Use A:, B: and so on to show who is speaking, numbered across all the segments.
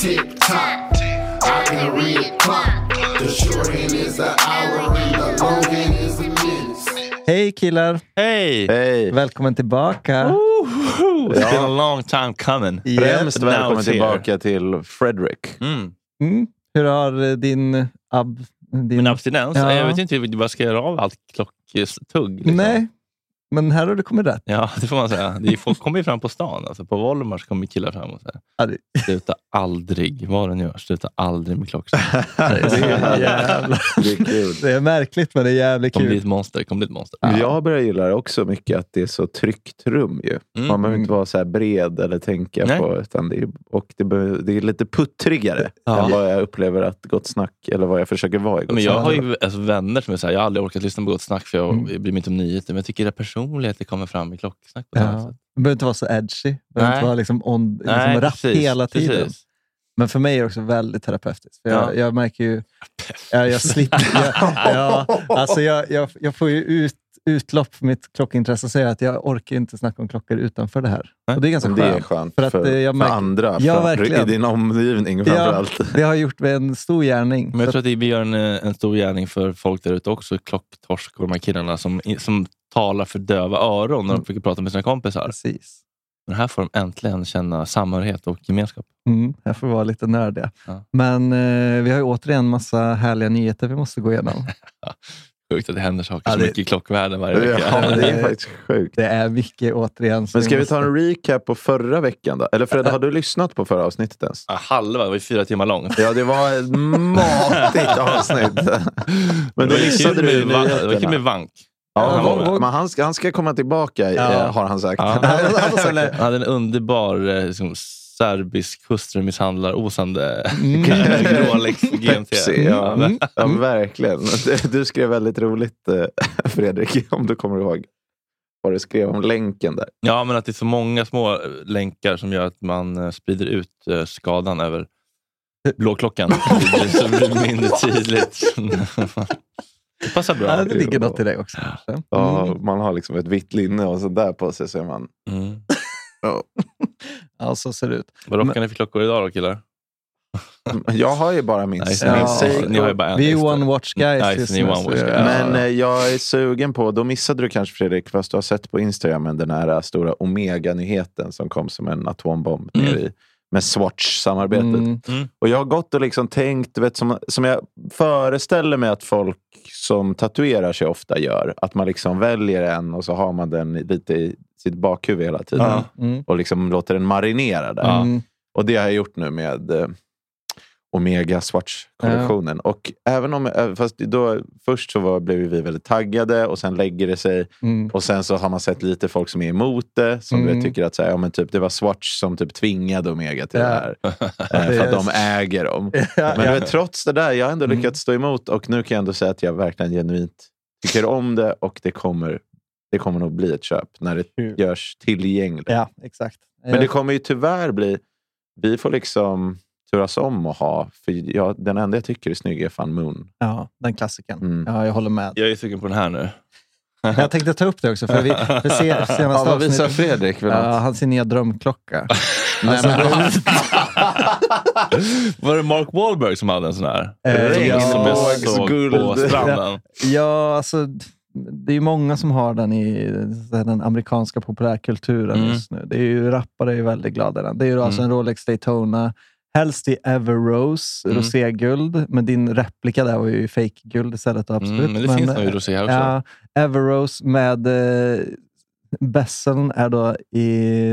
A: Tick tock, I can read the clock. The short end is the hour and the long end is the minutes.
B: Hej killar!
C: Hej!
D: Hej!
B: Välkommen tillbaka!
C: Woho! It's been a long time coming.
B: Yep.
D: Främst
C: Now
D: välkommen
C: it's here.
D: tillbaka till Fredrik.
C: Mm.
B: Mm. Hur har eh, din... Ab, din...
C: Min abstinens?
B: Ja.
C: Jag vet inte vad jag ska göra av allt klocktugg. liksom.
B: Nej, men här har du kommit rätt.
C: Ja, det får man säga. Det är, folk kommer ju fram på stan. Alltså, på Volmars kommer killar fram och säger
B: Ja, det-
C: Sluta aldrig, vad du än gör, sluta aldrig med klockslag.
B: Det är, jävla...
D: Det är kul.
B: det är märkligt, men det är jävligt
C: Kom bli
B: kul.
C: ett monster, kom bli ett monster.
D: Men Jag börjar gilla det också mycket att det är så tryggt rum. Ju.
B: Mm.
D: Man behöver inte vara så här bred eller tänka
C: Nej.
D: på. Utan det, är, och det, be, det är lite puttrigare
C: Ja.
D: än vad jag upplever att Gott Snack, eller vad jag försöker vara i Gott
C: Men jag
D: Snack.
C: har ju alltså, vänner som är såhär, jag har aldrig orkat lyssna på Gott Snack för jag
B: Mm.
C: bryr mig inte om nyheter. Men jag tycker att personligheter kommer fram i klocksnack på ett annat
B: Ja.
C: sätt.
B: Du behöver inte vara så edgy. Du behöver inte
C: Nej.
B: vara liksom on, liksom
C: Nej,
B: rapp
C: precis,
B: hela tiden.
C: precis.
B: Men för mig är det också väldigt terapeutiskt. För jag,
C: Ja.
B: jag märker ju... Ja, jag slipper... Jag, ja, alltså jag, jag, jag får ju ut, utlopp för mitt klockintresse och säger att jag orkar ju inte snacka om klockor utanför det här.
C: Nej.
B: Och det är ganska
D: Men
B: skönt.
D: det är skönt
B: För
D: för,
B: att,
D: för,
B: eh, jag märker-
D: andra,
B: Ja,
D: fram-
B: verkligen.
D: i din omgivning framförallt.
B: Ja, det har gjort mig en stor gärning.
C: Men jag tror att vi gör en, eh, en stor gärning för folk där ute också, klocktorsk och de här killarna som, i- som talar för döva öron
D: Mm.
C: när de försöker prata med sina kompisar.
B: Precis.
C: Men här får de äntligen känna samhörighet och gemenskap.
B: Mm, jag får vara lite nördiga.
C: Ja.
B: Men eh, vi har ju återigen massa härliga nyheter vi måste gå igenom.
C: Sjukt att det händer saker
B: Ja,
C: så
B: det-
C: mycket i klockvärlden varje vecka.
D: Ja, men det
B: Eh,
D: är faktiskt sjukt.
B: Det är mycket återigen. så
D: Men ska vi ta
B: måste-
D: en recap på förra veckan då? Eller
B: Äh,
D: Fred, har du lyssnat på förra avsnittet ens?
C: Ja, halva, det var ju fyra timmar långt.
D: Ja, det var ett matigt avsnitt. Men
C: det, var
D: då missade
C: kul
D: du
C: med, va- det var kul
D: nyheterna.
C: med Vank.
D: Ja,
B: Ja,
D: men- men han, ska- han ska komma tillbaka,
B: Ja.
D: eh, har han sagt.
C: Ja.
D: Han har sagt det.
C: Han hade en underbar eh, liksom, serbisk hustrumisshandlar-osande
B: Mm.
C: Rolex GMT.
D: Pepsi, ja.
C: Mm.
D: Mm. Ja, verkligen. Du- Du skrev väldigt roligt, eh, Fredrik, om du kommer ihåg vad du skrev om länken där.
C: Ja, men att det är så många små eh, länkar som gör att man eh, sprider ut eh, skadan över blåklockan. Det blir- så det blir mindre tydligt. Det passar
B: Ja,
C: bra.
B: det ligger något i det också. kanske.
D: Ja,
B: Mm.
D: Man har liksom ett vitt linne och sånt där på sig. Så är man...
C: Mm.
B: Ja, så ser det ut.
C: Vad rockar ni för klockor idag då, killar?
D: Jag har ju bara min,
C: Nice.
D: min
B: Ja.
D: Seiko.
C: Ni har ju bara en.
B: Vi är
C: just det.
B: one watch guys
C: Nice,
B: just
C: ni är
B: nu.
C: one
B: så
C: watch
B: jag-
C: guys.
D: Men eh, jag är sugen på, då missade du kanske Fredrik, fast du har sett på Instagram den här eh, stora Omega-nyheten som kom som en atombomb
C: Mm.
D: ner i, med Swatch-samarbetet.
B: Mm.
D: Och jag har gått och liksom tänkt, du vet, som, som jag föreställer mig att folk som tatuerar sig ofta gör, att man liksom väljer en och så har man den i- lite i sitt bakhuvud hela tiden.
C: Ja.
B: Mm.
D: Och liksom låter den marinera där.
B: Mm.
D: Och det har jag gjort nu med eh, Omega Swatch-kollektionen. Och även om, eh, fast då, först så var, blev ju vi väldigt taggade och sen lägger det sig.
B: Mm.
D: Och sen så har man sett lite folk som är emot det. Som
B: Mm.
D: du vet, tycker att så här, ja, men typ, det var Swatch som typ tvingade Omega till
B: Ja.
D: det här. Eh, för att de äger dem.
B: Ja, Mm.
D: Men
B: ja.
D: du vet, trots det där, jag har ändå lyckats stå emot. Och nu kan jag ändå säga att jag verkligen genuint tycker om det. Och det kommer, det kommer nog bli ett köp när det
B: Kul.
D: görs tillgängligt.
B: ja, exakt.
D: Men det kommer ju tyvärr bli... Vi får liksom turas om att ha... För jag, den enda jag tycker är snygg är fan Moon.
B: Ja, den klassikern.
D: Mm.
B: Ja, jag håller med.
C: Jag är sugen på den här nu.
B: Jag tänkte ta upp det också, för vi, för se, senaste avsnittet-
D: Fredrik för
B: Ja, hans nya drömklocka.
D: Nej,
C: Alltså,
D: men,
C: Var det Mark Wahlberg som hade en sån här?
B: Eh,
C: Som
B: ja.
C: jag som jag såg på
D: Guld.
C: stranden.
B: Ja, alltså, det är ju många som har den i så här, den amerikanska populärkulturen
C: Mm.
B: just nu. Det är ju, rappare är ju väldigt glada i den. Det är ju alltså en Rolex Daytona, helst i Everrose,
C: Mm.
B: roséguld. Men din replika där var ju fake-guld istället. då, Absolut. eh,
C: Mm, men det finns nog i rosé här också.
B: Ja, Everrose med... Eh, Besseln är då i...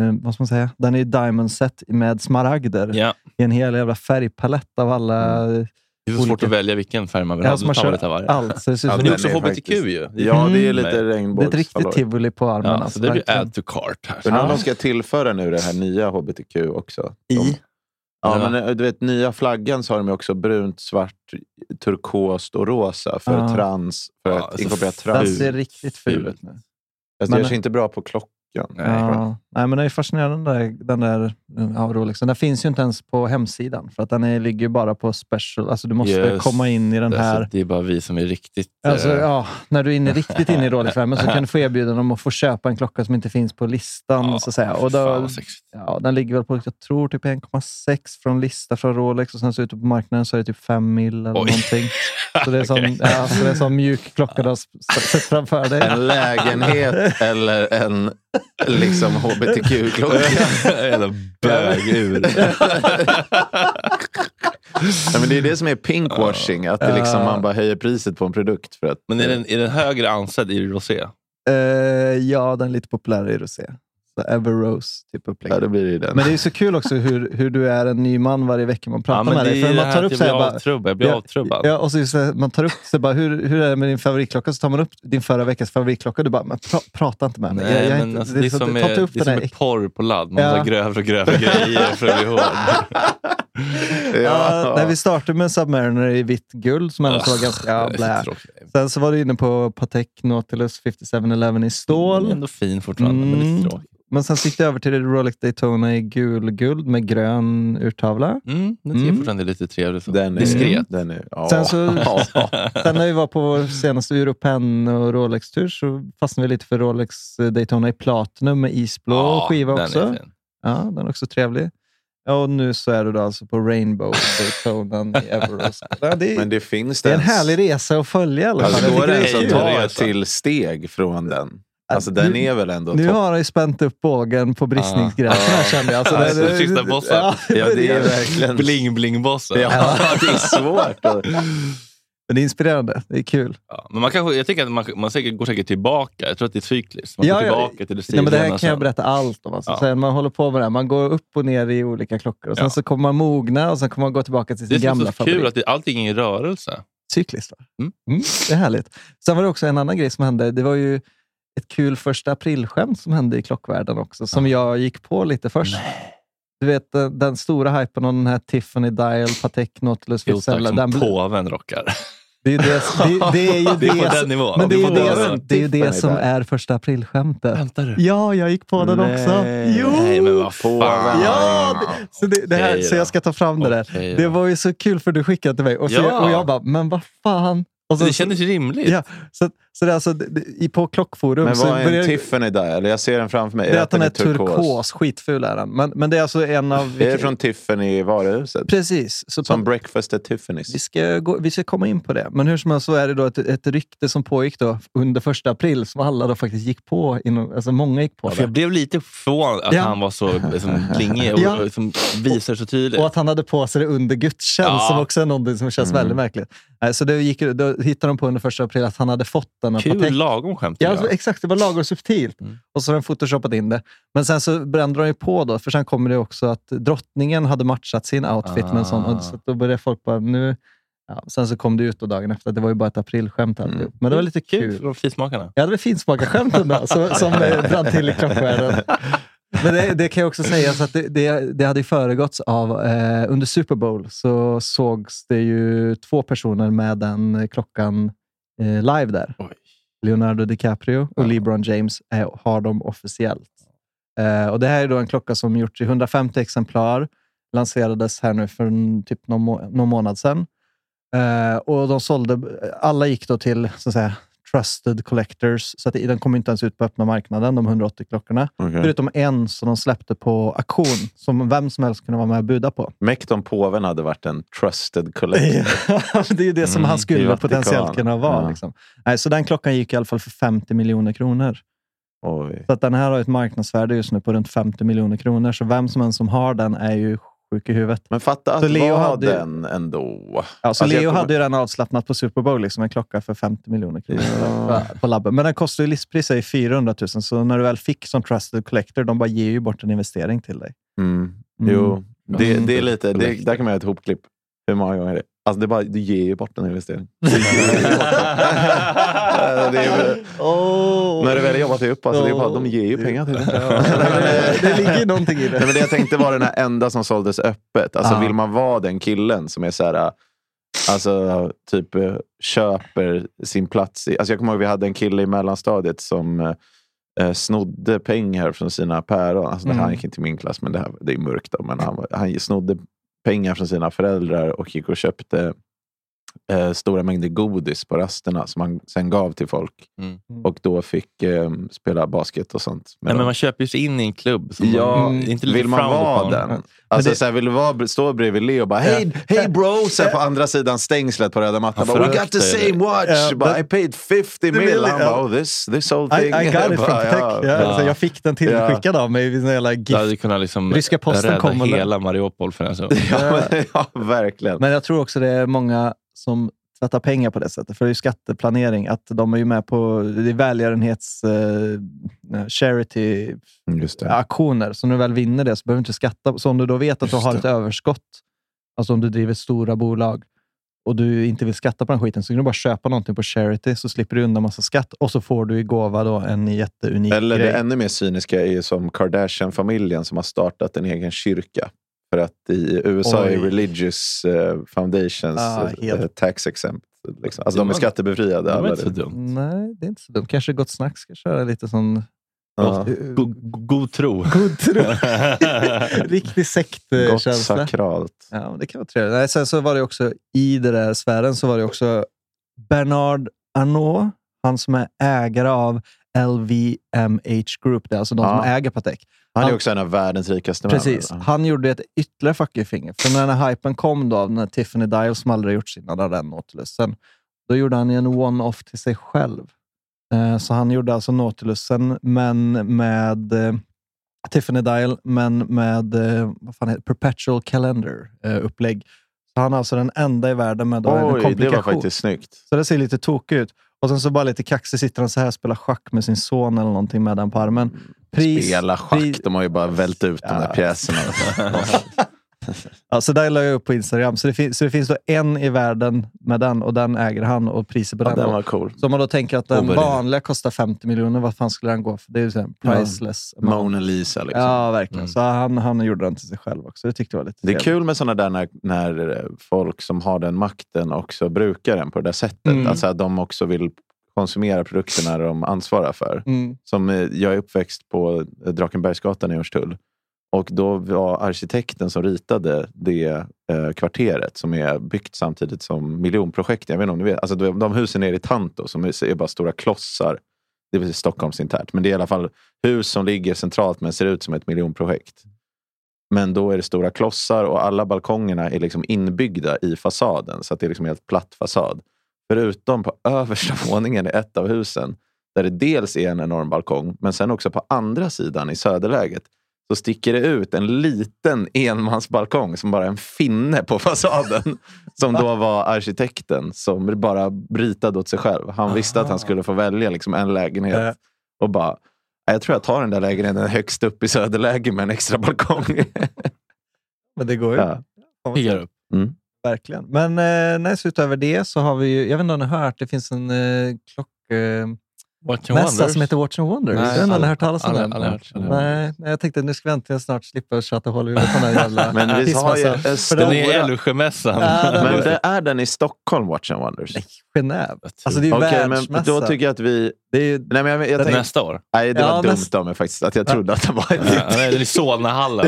B: Eh, vad ska man säga? Den är i diamond set med smaragder
C: Ja. Mm.
B: i en hel jävla färgpalett av alla
C: Det är så svårt
B: olika-
C: att välja vilken färg man vill
B: Ja,
C: ha.
B: som
C: Då
B: man
C: tar man
B: kör
C: lite av varje.
B: Allt. Så det, ser ut
D: Ja,
B: som
C: Det är
D: den
C: också
D: är
C: HBTQ
D: faktiskt-
C: ju.
D: Ja, det är
C: Mm.
D: lite
B: det är ett
D: regnbågsfalloj.
B: riktigt tivoli på armarna. alltså,
C: Ja, så det blir
B: verkligen.
C: add to cart här.
D: Undrar om
C: Ja.
D: de ska tillföra nu det här nya hbtq också. De,
C: I?
D: ja,
C: Ja.
D: men eh, du vet, nya flaggan så har de ju också brunt, svart, turkost och rosa för
B: Ja.
D: trans. För
C: Ja,
D: att
C: alltså,
D: inkorporera
B: Den
D: trans.
B: ser riktigt ful ut.
C: Fult.
B: nu.
D: Fast det
B: men-
D: gör sig inte bra på klockan.
C: Nej.
B: Ja. Nej, men det är fascinerande den där, den där ja, Rolexen. Den finns ju inte ens på hemsidan, för att den är, ligger ju bara på special. Alltså, du måste
C: Yes.
B: komma in i den här...
C: Alltså, det är bara vi som är riktigt...
B: Alltså,
C: eh,
B: ja, när du är inne riktigt inne i Rolex-värmen så kan du få erbjudande om att få köpa en klocka som inte finns på listan.
C: ja,
B: så att säga.
C: fy
B: Och
C: fan,
B: då,
C: vad sexigt.
B: ja, den ligger väl på jag tror typ 1,6 från lista från Rolex och sen så ute på marknaden så är det typ 5 mil eller
C: Oj.
B: någonting. Så det är som,
C: Okej.
B: ja, så det är som mjuk klocka du har s- s- sett framför dig.
D: En lägenhet eller en liksom hbtq-klocka.
C: Jävla bögur.
D: Nej, men det är det som är pinkwashing. Att det liksom, man bara höjer priset på en produkt. För att,
C: Men är den, är den högre ansedd i rosé?
B: Eh, ja, den är lite populärare i rosé. Så Ever Rose, typ
D: Ja,
B: upplägg.
D: då blir det ju den.
B: Men det är så kul också hur, hur du är en ny man varje vecka man pratar
C: Ja, men
B: med
C: det
B: dig.
C: är
B: För
C: det
B: man tar
C: här
B: upp
C: att jag
B: så här,
C: blir
B: bara,
C: avtrubbad. Jag blir avtrubbad.
B: Ja, och så just det, man tar upp så bara, hur, hur är det med din favoritklocka? Så tar man upp din förra veckas favoritklocka och du bara, men pra, prata inte med mig.
C: Nej,
B: jag, jag är
C: men
B: inte,
C: alltså,
B: det,
C: det är
B: så-
C: som,
B: ta inte
C: är,
B: upp
C: det är
B: den
C: som
B: där
C: är porr på ladd. Man
B: Ja.
C: tar grövre och grövre grejer för att bli hård.
D: ja,
B: Ja, nej, vi startade med Submariner i vitt guld som ändå var
C: Ugh,
B: ganska...
C: Ah, det
B: Ja,
C: är
B: blä.
C: så tråkigt.
B: Sen så var du inne på Patek Nautilus 5711 i
C: Den är
B: stål.
C: Ändå fin fortfarande, men
B: Mm.
C: lite tråkig.
B: Men sen gick du över till Rolex Daytona i gul guld med grön urtavla.
C: Mm, den tycker
B: Mm.
C: jag fortfarande är lite trevlig. Så.
D: den är,
C: Diskret.
D: Den är, ja.
B: Sen så-
D: Ja.
B: Sen när vi var på vår senaste Europen och Rolex-tur så fastnade vi lite för Rolex eh, Daytona i platinum med isblå
C: Ja,
B: skiva
C: den
B: också.
C: Är fin.
B: Ja, den är också trevlig. Ja, Och nu så är du då alltså på Rainbow Daytona i Everest. Ja, det,
D: Men
B: är,
D: det finns
B: det är en
D: ens-
B: härlig resa att följa i alla fall.
D: Alltså,
B: Jag
D: går
B: tycker är
D: det ens
B: kul.
D: att
C: kul.
D: ta ett
C: Resa.
D: till steg från den? Alltså
B: Ja,
D: den
B: nu-
D: är väl ändå
B: Nu
D: topp.
B: har han ju spänt upp bågen på bristningsgränsen här känner jag. Alltså,
C: Alltså, sista bossen.
B: Ja, det,
D: Ja, det är
B: börjar-
D: verkligen...
C: Bling-bling-bossen.
D: Ja, det är svårt. att-
B: Men det är inspirerande. Det är kul.
C: Ja, men man kanske, jag tycker att man, man säkert, går säkert tillbaka. Jag tror att det är cykliskt. Man
B: Ja,
C: går
B: ja,
C: tillbaka till det
B: Nej, men det här
C: stilrena
B: kan jag
C: sen.
B: berätta allt om. Alltså.
C: Ja.
B: Sen man håller på med det här. Man går upp och ner i olika klockor. Och sen
C: Ja.
B: så kommer man mogna och sen kommer man gå tillbaka till
C: Det
B: sin
C: är så
B: gamla favorit.
C: kul att det, allting är i rörelse.
B: cykliskt. Va?
C: Mm.
B: det är härligt. Sen var det också en annan grej som hände. Det var ju ett kul första aprilskämt som hände i klockvärlden också, som jag gick på lite först. Du vet eh, den stora hypen om den här Tiffany Dial, Patek Nautilus,
C: Jo tack,
B: Fitzella.
C: som
B: Den, bl-
C: påven rockar.
B: det, är ju det, det, det är ju
C: Det är på
B: det,
C: den nivån.
B: men det, är ju
C: på
B: det,
C: den
B: som-
C: nivån.
B: det, är ju det
D: Tiffany
B: som
D: Dial.
B: är första aprilskämtet.
C: Skämtar du?
B: Ja, jag gick på den också.
D: Nej.
B: Jo!
C: Nej, men vad fan.
B: Ja, det, så, det, det här,
C: Okej
B: så jag
C: då.
B: ska ta fram det där.
C: Okej då.
B: Det var ju så kul för du skickade till mig och, så,
C: Ja.
B: och jag bara, men vad fan? Och sen-
C: Det kändes ju rimligt.
B: Ja, så, så det är alltså det- det- i- på klockforum
D: Men
B: så
D: vad är
B: börjar-
D: en Tiffany där? Eller jag ser den framför mig.
B: det är att den är turkos. Skitful är den. Men, men det är alltså en av...
D: Är det från Tiffany i varuhuset?
B: Precis. Så
D: Som
B: på,
D: breakfast at
B: vi,
D: Tiffany's.
B: ska gå, vi ska komma in på det. Men hur som helst så är det då ett, ett rykte som pågick då under första april som alla då faktiskt gick på. Inom, alltså många gick på
C: För jag
B: det.
C: blev lite förvånad att
B: Ja.
C: han var så liksom, klingig och,
B: Ja.
C: och liksom, visar så tydligt.
B: Och att han hade på sig det under gudstjänst
C: Ja.
B: som också är någonting som känns
D: Mm.
B: väldigt märkligt. Nej, Så det gick, då hittade de på under första april att han hade fått den av
C: Kul
B: Patek.
C: lagom skämt.
B: Ja,
C: tycker
B: alltså,
C: jag.
B: exakt. Det var lagom subtilt.
C: Mm.
B: Och så har de photoshopat in det. Men sen så brände de ju på då, för sen kommer det också att drottningen hade matchat sin outfit med en sån.
C: Ah.
B: Och så då började folk bara, nu... Ja, sen så kom det ut då dagen efter. Det var ju bara ett aprilskämt alltihop.
D: Mm.
B: Men det var lite
C: Kul
B: kul.
C: för de finsmakarna.
B: Ja, det var finsmakarskämten då, som, som eh, brann till i klockvärlden. Men det, det kan jag också säga, så att det, det, det hade ju föregåtts av... Eh, under Super Bowl så sågs det ju två personer med den eh, klockan eh, live där.
C: Oj.
B: Leonardo DiCaprio och
C: Ja.
B: LeBron James är, har dem officiellt. Eh, och Det här är då en klocka som gjorts i 150 exemplar. Lanserades här nu för en, typ någon, må- någon månad sedan. Eh, och de sålde, alla gick då till så att säga, trusted collectors, så att det- den kom inte ens ut på öppna marknaden, de 180 klockorna.
D: Okay.
B: Förutom en som de släppte på auktion, som vem som helst kunde vara med och buda på.
D: Mäkt om påven hade varit en trusted collector.
B: det är ju det som
C: Mm,
B: han
D: det är
B: skulle
D: Vatikan.
B: potentiellt kunna vara.
D: Ja.
B: Liksom. Nej, så den klockan gick i alla fall för 50 miljoner kronor.
D: Oj.
B: Så att den här har ett marknadsvärde just nu på runt 50 miljoner kronor. Så vem som än som har den är ju sjuk i huvudet.
D: Men fatta att
B: Så Leo
D: vara
B: hade ju-
D: den ändå.
B: Ja, så
D: Alltså, jag
B: Leo
D: kommer-
B: hade ju den avslappnat på Super Bowl, liksom en klocka för 50 miljoner kronor
D: Ja.
B: på- på labben. Men den kostar ju listpris är ju 400 000, så när du väl fick som trusted collector, de bara ger ju bort en investering till dig.
D: Mm.
B: Mm.
D: Jo, det,
C: Mm.
D: det är lite, det,
C: Collector.
D: där kan man göra ett hopklipp. Hur många gånger det Alltså det, bara, det ger ju bort en investering. det är väl,
B: Åh.
D: när du väl har jobbat dig upp, alltså, det är bara, de ger ju
B: Ja.
D: pengar till det.
B: Ja, nej, men eh, det, det ligger ju någonting i det.
D: Nej, men det jag tänkte var den här enda som såldes öppet. Alltså,
B: Ah.
D: Vill man vara den killen som är så här, alltså, typ eh, köper sin plats? I, alltså, jag kommer ihåg vi hade en kille i mellanstadiet som eh, snodde pengar från sina päron. Alltså,
B: Mm.
D: Han gick inte i min klass, men det, här, det är mörkt. Då, men han, var- han snodde pengar från sina föräldrar och gick och köpte eh, stora mängder godis på rasterna som han sen gav till folk.
C: Mm.
D: Och då fick eh, spela basket och sånt. med
C: Nej,
D: dem.
C: men man köper ju sig in i en klubb. Som
D: Ja,
C: man, det är inte lite
D: vill man
C: frowned
D: vara
C: upon.
D: den? Alltså,
B: det-
D: så här, vill du vara, stå bredvid Leo och bara hej, hej bro, sen på andra sidan stängslet på röda mattan.
C: Ja,
D: Bara, We
C: fruktar
D: got the
C: ju det.
D: same watch!
B: Ja,
D: bara,
B: but-
D: I paid 50 mil!
B: million,
D: Han
B: ja.
D: bara, oh, this, this whole
B: I,
D: thing.
B: I got it from
D: Bara,
B: tech. Ja. Alltså, jag fick den tillskickad av mig vid en jävla
C: Du
B: gift.
C: hade kunnat liksom
B: Ryska posten
C: rädda
B: kom och-
C: hela Mariupol för den. Så.
D: Ja, men- ja, verkligen.
B: Men jag tror också det är många som tvättar pengar på det sättet. För det är ju skatteplanering. Att de är ju med på det är välgörenhets eh, charity
D: Just det.
B: aktioner. Så när du väl vinner det så behöver du inte skatta. Så om du då vet att du
D: Just
B: har
D: det.
B: ett överskott, alltså om du driver stora bolag och du inte vill skatta på den skiten, så kan du bara köpa någonting på charity så slipper du undan massa skatt och så får du i gåva då en jätteunik
D: Eller
B: grej.
D: det ännu mer cyniska är ju som Kardashian-familjen som har startat en egen kyrka. För att i USA är
B: Oj.
D: religious eh, foundations
B: Ah, helt.
D: eh, tax exempt. Liksom. Alltså,
C: Det
D: de är
C: var-
D: skattebefriade.
C: Det var
D: alla
C: inte så
D: det.
C: dumt.
B: Nej, det är inte så dumt. Kanske Gott Snack ska köra lite sån...
D: Ja.
C: Go- go- God tro.
B: God tro. Riktig eh,
D: Gott
B: sektkänsla.
D: sakralt.
B: Ja, men det kan vara trevligt. Nej, sen så var det också, i den där sfären, så var det också Bernard Arnault, han som är ägare av LVMH Group. Det är alltså de
D: Ja.
B: som äger Patek.
D: Han är
B: Han-
D: också en av världens rikaste män.
B: Precis. Han gjorde ett ytterligare fuck you-finger. För när den här hypen kom då, av den här Tiffany Dial som aldrig gjorts innan, där den Nautilusen, då gjorde han ju en one-off till sig själv. Eh, Så han gjorde alltså Nautilusen, men med eh, Tiffany Dial, men med eh, vad fan heter, det? perpetual calendar-upplägg. Så han är alltså den enda i världen med då en
D: Oj, det var
B: komplikation.
D: faktiskt snyggt.
B: Så det ser lite tokigt ut. Och sen så bara lite kaxig sitter han så här och spelar schack med sin son eller någonting med den på armen. Pris,
D: Mm, Spela
B: pris-
D: schack. De har ju bara vält ut de
B: Ja.
D: där alltså. pjäserna.
B: Ja, så där la jag upp på Instagram. Så det, fin- så det finns då en i världen med den och den äger han och priset på
D: Ja,
B: den.
D: den
B: då.
D: var cool.
B: Så om man då tänker att den
C: Oberoende.
B: vanliga kostar 50 miljoner, vad fan skulle den gå för? Det är ju så här priceless. amount.
D: Mona Lisa. Liksom.
B: Ja, verkligen.
C: Mm.
B: Så han, han gjorde den till sig själv också. Det tyckte jag var lite
D: Det är
B: trevligt.
D: kul med såna där när, när folk som har den makten också brukar den på det där sättet.
B: Mm.
D: Alltså att de också vill konsumera produkterna de ansvarar för.
B: Mm.
D: Som eh, jag är uppväxt på eh, Drakenbergsgatan i Örnsköldsvik. Och då var arkitekten som ritade det eh, kvarteret som är byggt samtidigt som miljonprojekten. Jag vet inte om ni vet. Alltså, de, de husen nere i Tanto som är är bara stora klossar. Det är väl Stockholms internt. Men det är i alla fall hus som ligger centralt men ser ut som ett miljonprojekt. Men då är det stora klossar och alla balkongerna är liksom inbyggda i fasaden. Så att det är liksom helt platt fasad. Förutom på översta våningen i ett av husen där det dels är en enorm balkong, men sen också på andra sidan i söderläget så sticker det ut en liten enmansbalkong som bara är en finne på fasaden. Som då var arkitekten som bara ritade åt sig själv. Han visste att han skulle få välja liksom en
B: Ja.
D: lägenhet och bara, "Nej, jag tror jag tar den där lägenheten högst upp i söderläge med en extra balkong.
B: Men det går ju.
D: ja.
C: Piggar upp.
B: Verkligen. Men eh, nej, så utöver det så har vi ju, jag vet inte om ni har hört, det finns en eh, klockmässa
C: Watch and wonders.
B: som heter Watch and Wonders.
C: Nej,
B: jag vet inte om ni
C: aldrig-
B: har hört talas om
C: aldrig-
B: den.
C: aldrig hört. Aldrig hört.
B: Nej, nej, jag tänkte nu ska vi äntligen snart slippa tjata hål i huvudet på den här jävla
D: Men vi har ju
B: pissmässan.
D: en
B: För de-
C: Den är
D: stora...
C: Älvsjömässan.
B: Ja, den-
D: Men det är den i Stockholm, Watch and Wonders?
B: Nej, Genève. Alltså det är ju
D: Okej, men
B: världsmässa.
D: då tycker jag att vi...
B: Det är ju
D: Nej, men jag, jag, tänkte-
C: Nästa år.
D: Nej, det
B: Ja,
D: var dumt
B: näst-
D: av mig faktiskt. Att jag trodde att det var
C: Ja,
D: ett
C: den är i Solnahallen.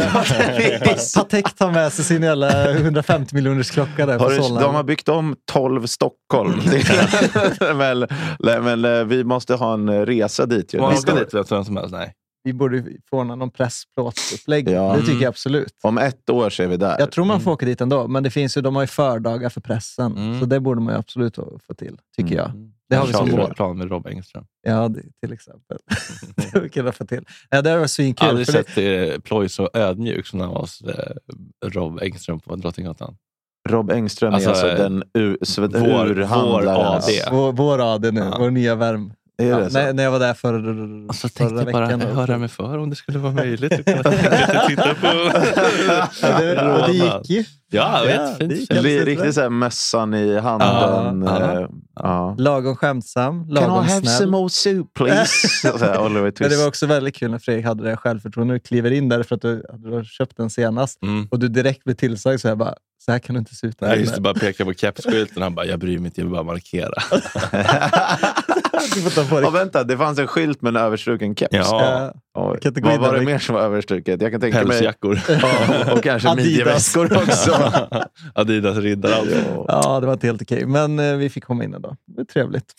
B: Patek tar med sig sin jävla 150 miljoners klocka där
D: har
B: på
D: du,
B: Solna.
D: de har byggt om 12 Stockholm. men, nej, men eh, vi måste ha en eh, resa dit. Ju.
C: Man
D: Nästa
C: åker
D: år.
C: dit vem som helst. Nej.
B: Vi borde ju få ordna någon pressplåtsupplägg.
D: Ja. Mm.
B: Det tycker
C: Mm.
B: jag absolut.
D: Om ett år så är vi där.
B: Jag tror man får åka dit ändå, men det finns ju, de har ju fördagar för pressen.
C: Mm.
B: Så det borde man ju absolut få till,
D: Mm.
B: tycker jag. Det har vi som
C: Charlie
B: mål.
C: Brown plan med Rob Engström.
B: Ja, det, till exempel. det borde vi kunna få till. Ja, det här var svinkul.
C: Aldrig
B: För det,
C: sett eh, Ploy så ödmjuk som när han var hos eh, Rob Engström på Drottninggatan.
D: Rob Engström
C: Alltså,
D: är alltså
C: eh,
D: den u- sve-
C: vår- vår
D: urhandlaren.
C: AD.
B: vår, vår AD nu,
C: Ja.
B: vår nya värm,
D: Är
B: Ja,
D: det så?
B: när, när jag var där för,
C: Så tänkte
B: förra
C: jag bara
B: veckan.
C: höra mig för om det skulle vara möjligt. Typ, att kunna tänka sig titta på
B: ja, det, det
C: Råna.
B: gick ju.
C: Ja,
B: Ja,
C: vet,
B: det
C: fint.
B: gick.
D: Li- Riktigt såhär mössan i handen.
C: Ja,
D: eh, ja.
B: Lagom skämtsam,
D: Can
B: lagom
D: I have some
B: snäll.
D: more soup please? Så här, Oliver
B: Men
D: Twist.
B: det var också väldigt kul när Fredrik hade det självförtroende och kliver in där för att du hade köpt den senast
C: Mm.
B: och du direkt blir tillsagd så här bara, så här kan du inte se ut.
C: Nej, just det, bara peka på kepsskylten. Han bara, jag bryr mig inte, jag vill bara markera.
B: du får ta på
D: Ja,
B: dig.
D: vänta, det fanns en skylt med en överstruken keps.
C: Ja,
B: Eh,
D: Oj.
B: kan inte gå
D: Vad
B: in
D: var
B: där.
D: det mer som var överstruket? Jag kan tänka mig...
C: pälsjackor.
D: Ja, och kanske
B: Adidas.
D: midjeväskor också.
C: Adidas alltså. riddaralbum.
D: Ja.
B: Ja, det var inte helt okej, men eh, vi fick komma in ändå. Det var trevligt.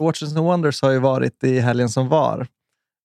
B: Watches and Wonders har ju varit i helgen som var.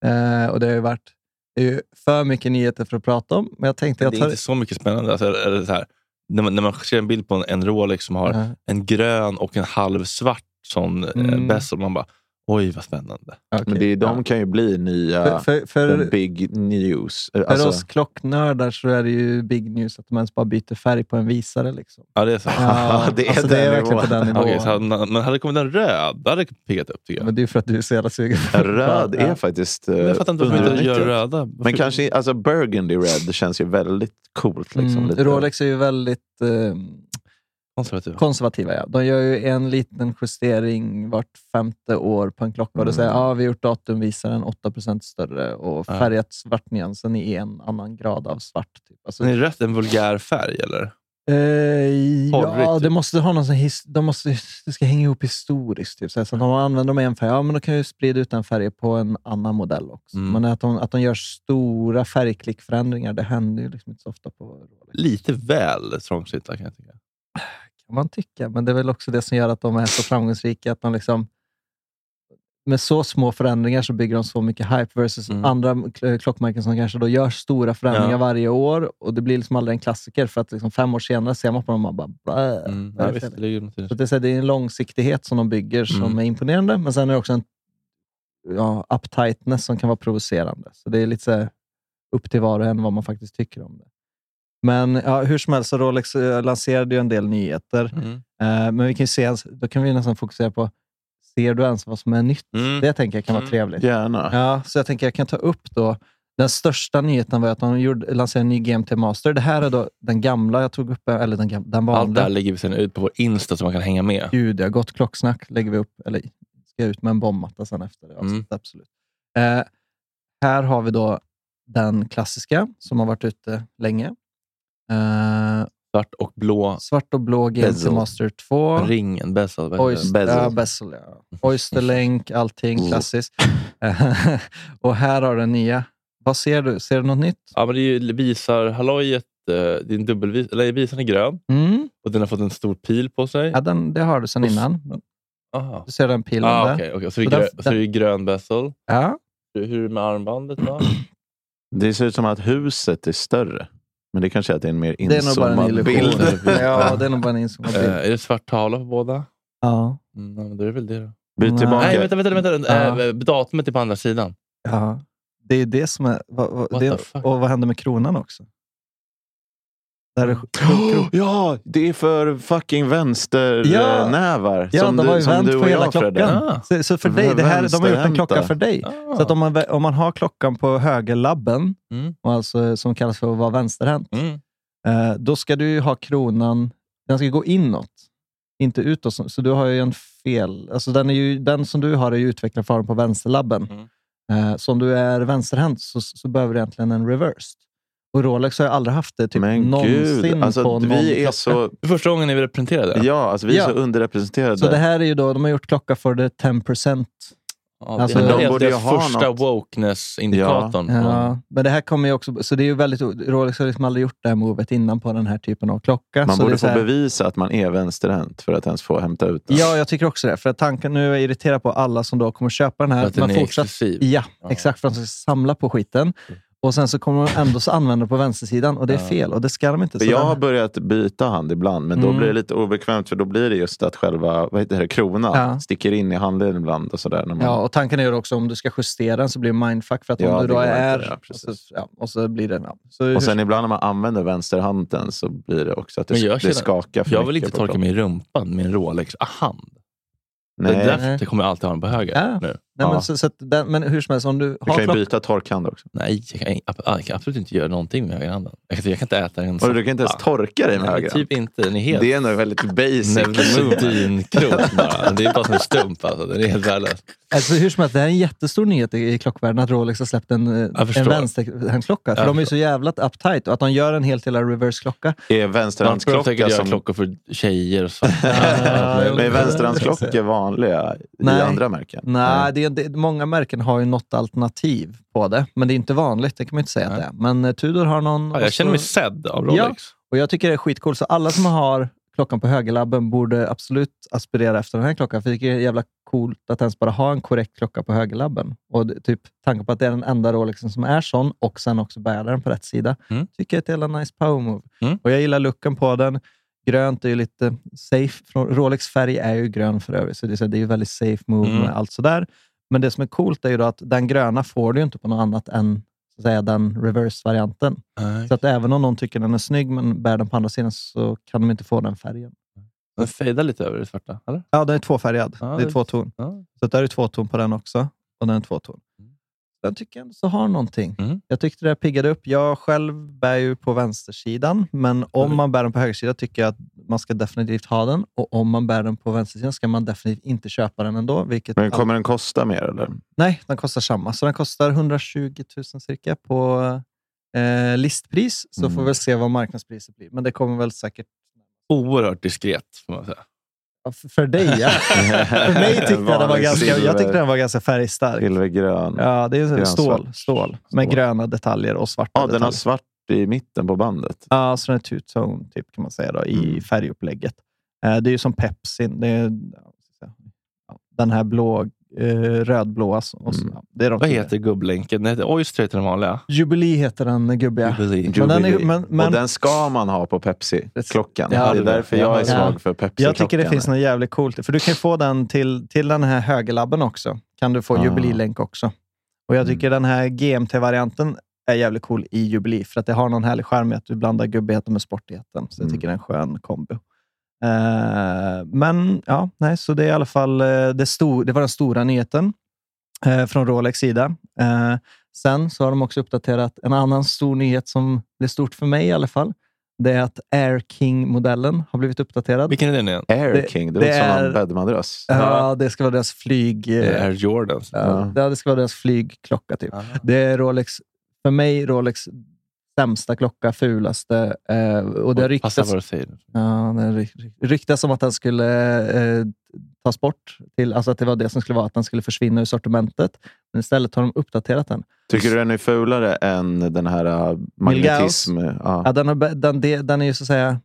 B: Eh, och Det har ju varit det är ju för mycket nyheter för att prata om, men jag tänkte... Jag
C: Det är
B: tar...
C: inte så mycket spännande. Alltså, är det så här, när, man, när man ser en bild på en, en Rolex som har
B: Ja,
C: en grön och en halv svart sån eh,
B: Mm.
C: bezel, man bara, oj vad spännande.
B: okej.
D: Men det, är- de kan ju bli
B: För,
D: nya
B: för,
D: the
B: för,
D: big news. Eh,
B: för
D: Alltså,
B: oss klocknördar så är det ju big news att de ens bara byter färg på en visare. Liksom.
C: Ja, det är så.
D: Ja, det är
B: alltså, det är
D: den
B: verkligen på
D: nivån.
B: den nivån.
C: Okej, så hade, man- men hade det kommit en röd, det hade piggat upp tycker jag.
B: Men det är ju för att du är så jävla sugen. på det.
D: röd
B: Ja.
D: är faktiskt eh,
C: Men jag fattar inte varför de inte gör
D: underutnyttjat.
C: röda. Varför-
D: Men kanske, alltså burgundy red känns ju väldigt coolt. Liksom,
B: Mm,
D: lite.
B: Rolex är ju väldigt eh,
C: konservativa.
B: Konservativa, ja. De gör ju en liten justering vart femte år på en klocka. Och då
D: Mm.
B: säger ja, vi har gjort datumvisaren 8 större och
C: Ja.
B: färgat svartnyansen i en annan grad av svart. Typ. Alltså,
C: Men är rött en vulgär färg eller?
B: eh,
C: Porrigt,
B: ja,
C: typ.
B: det måste ha någon sån his- de måste, det ska hänga ihop historiskt. Typ. Så, här, så att om man använder dem i en färg, ja, men då kan jag ju sprida ut den färgen på en annan modell också.
C: Mm.
B: Men att de, att de gör stora färgklickförändringar, det händer ju liksom inte så ofta på Rolex.
C: Lite väl trångsynta kan jag tycka.
B: kan man tycka. Men det är väl också det som gör att de är så framgångsrika. Att de liksom, med så små förändringar så bygger de så mycket hype versus
C: Mm.
B: andra kl- klockmärken som kanske då gör stora förändringar
C: Ja.
B: varje år och det blir liksom aldrig en klassiker för att liksom fem år senare ser man på dem och man bara blä.
C: Mm.
B: vad är
C: Ja,
B: det
C: visst,
B: för-
C: det ligger något i det.
B: Så det är så här, det är en långsiktighet som de bygger som
C: Mm.
B: är imponerande, men sen är det också en ja, uptightness som kan vara provocerande. Så det är lite så här, upp till var och en vad man faktiskt tycker om det. Men ja, hur som helst, så Rolex eh, lanserade ju en del nyheter.
C: Mm.
B: Eh, men vi kan ju se, ens- då kan vi nästan fokusera på, ser du ens vad som är nytt?
C: Mm.
B: Det tänker jag kan vara
C: Mm.
B: trevligt.
D: Gärna.
B: Ja, så jag tänker jag kan ta upp då, den största nyheten var att de gjorde, lanserade en ny GMT Master. Det här är då den gamla jag tog upp, eller den, gam- den
C: Allt det här
B: vanliga.
C: lägger vi sen ut på vår Insta så man kan hänga med.
B: Gud, jag har gott klocksnack lägger vi upp, eller ska jag ut med en bombmatta sen efter det avsnittet,
C: Mm.
B: absolut. Eh, här har vi då den klassiska som har varit ute länge. Eh,
C: Svart och blå
B: svart och blå GMT
D: Bezel.
B: Master 2.
C: ringen. Bezel, vad heter det?
B: Oyster,
D: Bezel. Mm.
B: Ja, bezel ja. Oysterlänk, allting klassiskt. Eh, och här har du den nya. Vad ser du? Ser du något nytt?
C: Ja, men det är ju visar hallojet. eh, Din dubbelvis, eller visaren är grön
B: Mm.
C: och den har fått en stor pil på sig.
B: Ja, den, det har du sedan innan.
C: Aha.
B: Du ser den pilen
C: Ah,
B: där.
C: okay, okay. Så, det
B: Så
C: är
B: den-
C: grö, så det är grön bezel.
B: Ja.
C: Hur hur är det med armbandet? Då?
D: Det ser ut som att huset är större. Men det kanske är att det är en mer
B: Det är nog bara en
D: inzoomad
B: illusion.
D: bild.
B: ja, det är nog bara en inzoomad
C: Eh,
B: bild.
C: är det svart tavla på båda?
B: Ja.
C: Mm, ja, men då är det väl det. Då.
D: Byt
B: Nej.
D: tillbaka.
C: Nej, vänta, vänta. vänta.
B: Ja.
C: Eh, datumet är på andra sidan.
B: ja. Det är det som är... Vad, vad,
C: What
B: det,
C: the fuck?
B: och vad händer med kronan också? Där
C: Mm.
B: är,
D: Oh, ja, det är för fucking
B: Ja.
D: vänsternävar.
B: ja,
D: som
B: de har
D: du,
B: ju
D: som
B: vänt
D: du
B: på
D: och
B: hela
D: jag, Fredde.
B: klockan.
C: Ah.
B: Så, så för dig, det här, de har gjort en klocka
D: Vänsterhänta.
B: för dig. Så att om man, vä- om man har klockan på högerlabben,
C: Mm.
B: och alltså, som kallas för att vara vänsterhänt,
C: Mm.
B: eh, då ska du ju ha kronan, den ska gå inåt, inte utåt. Så så du har ju en fel, alltså den, är ju, den som du har är ju utvecklad för den på vänsterlabben.
C: Mm.
B: Eh, så om du är vänsterhänt så, så behöver du egentligen en reversed. Och Rolex har ju aldrig haft det typ
D: Men
B: någonsin
D: gud,
B: på
D: alltså,
B: någon
D: vi är
B: klocka.
D: så,
C: Det är första gången ni är representerade.
D: ja, alltså, vi är
B: Ja.
D: så underrepresenterade.
B: Så det här är ju då, de har gjort klocka för the 10%.
C: Ja,
B: Alltså,
C: det
B: Men
D: de
C: är
D: borde ju
C: deras
D: ha
C: första
D: något.
C: wokeness-indikatorn. Mm.
B: Ja, men det här kommer ju också, så det är ju väldigt, o- Rolex har liksom aldrig gjort det här movet innan på den här typen av klocka.
D: Man
B: så det är
D: borde
B: så
D: få
B: här,
D: bevisa att man är vänsterhänt för att ens få hämta ut den.
B: Ja, jag tycker också det. För att tanken, nu är jag irriterad på alla som då kommer köpa den
C: För
B: här.
C: Att den
B: men
C: är
B: fortsatt,
C: exklusiv.
B: ja,
C: Ja.
B: exakt. För att de ska samla på skiten. Och sen så kommer de ändå så använda den på vänstersidan och det är
C: Ja.
B: fel. Och det ska de inte.
D: För
B: Så
D: jag har
B: den,
D: börjat byta hand ibland, men då
B: Mm.
D: blir det lite obekvämt för då blir det just att själva vad heter det, kronan
B: Ja.
D: sticker in i handen ibland. och sådär. När man,
B: ja, och tanken är ju också om du ska justera den så blir det mindfuck. För att
D: Mm. Ja,
B: om du
D: det
B: då
D: går inte,
B: är...
D: ja,
B: och,
D: precis.
B: så, ja, och så blir det... Ja. Så hur-
D: Och sen ibland när man använder vänsterhanden så blir det också att det,
C: Men jag
D: det
C: känner-
D: skakar för
C: Jag vill
D: mycket
C: inte
D: på
C: torka mig i rumpan med en Rolex-hand. Ah, Det,
D: Nej,
C: är
D: du
C: därför att jag kommer alltid ha den på höger.
B: Ja.
C: Nu.
B: Nej,
D: Ja.
B: men, så, så att den, men hur som helst, om du har
D: kan ju
B: klockan...
D: byta torkhand också.
C: Nej, jag kan, jag kan absolut inte göra någonting med högerhanden. Jag kan, jag kan inte äta en
D: Och du kan inte ens
C: soppa.
D: torka dig med
C: Nej,
D: höger
C: Typ inte. Den är helt typ-
D: Det är nog väldigt basic. move.
C: neurosedynkrok bara. Det är bara som en stump. Alltså. Den är helt värdelös.
B: Alltså, hur som helst, det här är en jättestor nyhet i, i klockvärlden att Rolex har släppt en, eh,
C: Jag förstår.
B: en vänsterhandsklocka. För
C: Jag
B: de är ju så jävla uptight och att de gör en helt jävla reverse-klocka.
D: Är
C: Man tror säkert
D: vänsterhandsklocka
C: göra
D: som...
C: klockor för tjejer och så.
B: Ja,
D: Men är vänsterhandsklocka vanliga i
B: Nej.
D: andra märken?
B: Nej, det, är- det, många märken har ju något alternativ på det, men det är inte vanligt. Det kan man ju inte säga att det är. Men eh, Tudor har någon...
C: Ja, jag känner mig
B: och så-
C: sedd av Rolex.
B: Och jag tycker det är skitcoolt. Så alla som har klockan på högerlabben borde absolut aspirera efter den här klockan. För jag tycker det är jävla coolt att ens bara ha en korrekt klocka på högerlabben. Och det, typ, tanken på att det är den enda Rolexen som är sån och sen också bära den på rätt sida.
C: Mm.
B: Tycker jag är ett jävla nice power move.
C: Mm.
B: Och jag gillar looken på den. Grönt är ju lite safe. Från- Rolex färg är ju grön för övrigt, så det är så- det är ju väldigt safe move
C: Mm.
B: och allt sådär. Men det som är coolt är ju då att den gröna får du ju inte på något annat än så att säga, den reverse-varianten. Så att även om någon tycker den är snygg men bär den på andra sidan så kan de inte få den färgen.
C: Den
B: Mm.
C: fejdar lite över det svarta, eller?
B: Ja, den är tvåfärgad.
C: Ja,
B: det är
C: det-
B: två ton.
C: Ja.
B: Så att där är två ton på den också. Och den är två ton.
C: Mm.
B: Den tycker jag ändå så har någonting.
C: Mm.
B: Jag tyckte det här piggade upp. Jag själv bär ju på vänstersidan, men om
C: Mm.
B: man bär den på högersidan tycker jag att man ska definitivt ha den. Och om man bär den på vänstersidan ska man definitivt inte köpa den ändå. Vilket
D: Men kommer den kosta mer eller?
B: Nej, den kostar samma. Så den kostar 120 000 cirka på eh, listpris. Så
D: Mm.
B: får vi väl se vad marknadspriset blir. Men det kommer väl säkert
C: Oerhört diskret, får man säga.
B: Ja, f- För dig, ja. För mig tyckte jag den var
D: Vanlig
B: ganska, jag tyckte
D: silver-
B: den var ganska färgstark.
D: Silvergrön. Ja,
B: Ja, det är
D: Grön,
B: så- stål,
D: svart.
B: stål med
D: Stål.
B: gröna detaljer och svarta
D: den har
B: detaljer.
D: svart i mitten på bandet.
B: Ja, så den är two-tone typ, kan man säga då, i
D: Mm.
B: färgupplägget. Eh, det är ju som Pepsi. Det är, ja, den här blå, eh, rödblåa. som- Och så,
D: Mm.
B: ja, det är de
C: Vad
B: tidigare.
C: heter gubblänken? Den heter Oyster, heter den vanliga.
B: Jubilee heter den gubbiga.
C: Jubilee.
B: Men den är-
D: Jubilee.
B: men- men-
D: Och den ska man ha på Pepsi-klockan.
B: Ja,
D: det är
C: det är
D: därför
C: det.
D: jag är
B: Ja.
D: svag för Pepsi-klockan.
B: Jag tycker det finns något jävligt coolt. För du kan få den till, till den här högerlabben också. Kan du få
D: Ah. Mm.
B: jubililänk också. Och jag tycker den här GMT-varianten är jävligt cool i jubilee. För att det har någon härlig charm i att du blandar gubbigheten med sportigheten. Så jag
D: Mm.
B: tycker det är en skön kombo. Eh, men ja, nej, så det är i alla fall eh, det, sto- det var den stora nyheten eh, från Rolex sida. Eh, sen så har de också uppdaterat en annan stor nyhet som blev stort för mig i alla fall. Det är att Air King-modellen har blivit uppdaterad.
C: Vilken är den igen?
D: Air
B: Det-
D: King, det,
B: det
D: låter som en
B: är-
D: bäddmadrass.
B: Ja, det ska vara deras flyg...
C: Det
B: eh,
C: är Air Jordans.
B: ja, det ska vara deras flygklocka. Typ.
C: Ah.
B: Det är Rolex, för mig Rolex sämsta klocka, fulaste. Eh, och det har
C: Passa
B: ryktats,
C: vad du säger. nu.
B: ja, det har ry- ry- ryktats om att den skulle eh, tas bort. Till, alltså att det var det som skulle vara, att den skulle försvinna ur sortimentet. Men istället har de uppdaterat den.
D: Tycker du den är fulare än den här äh, magnetism...
B: Ja,
D: Ja.
B: den, har, be- den, de- den är ju så att säga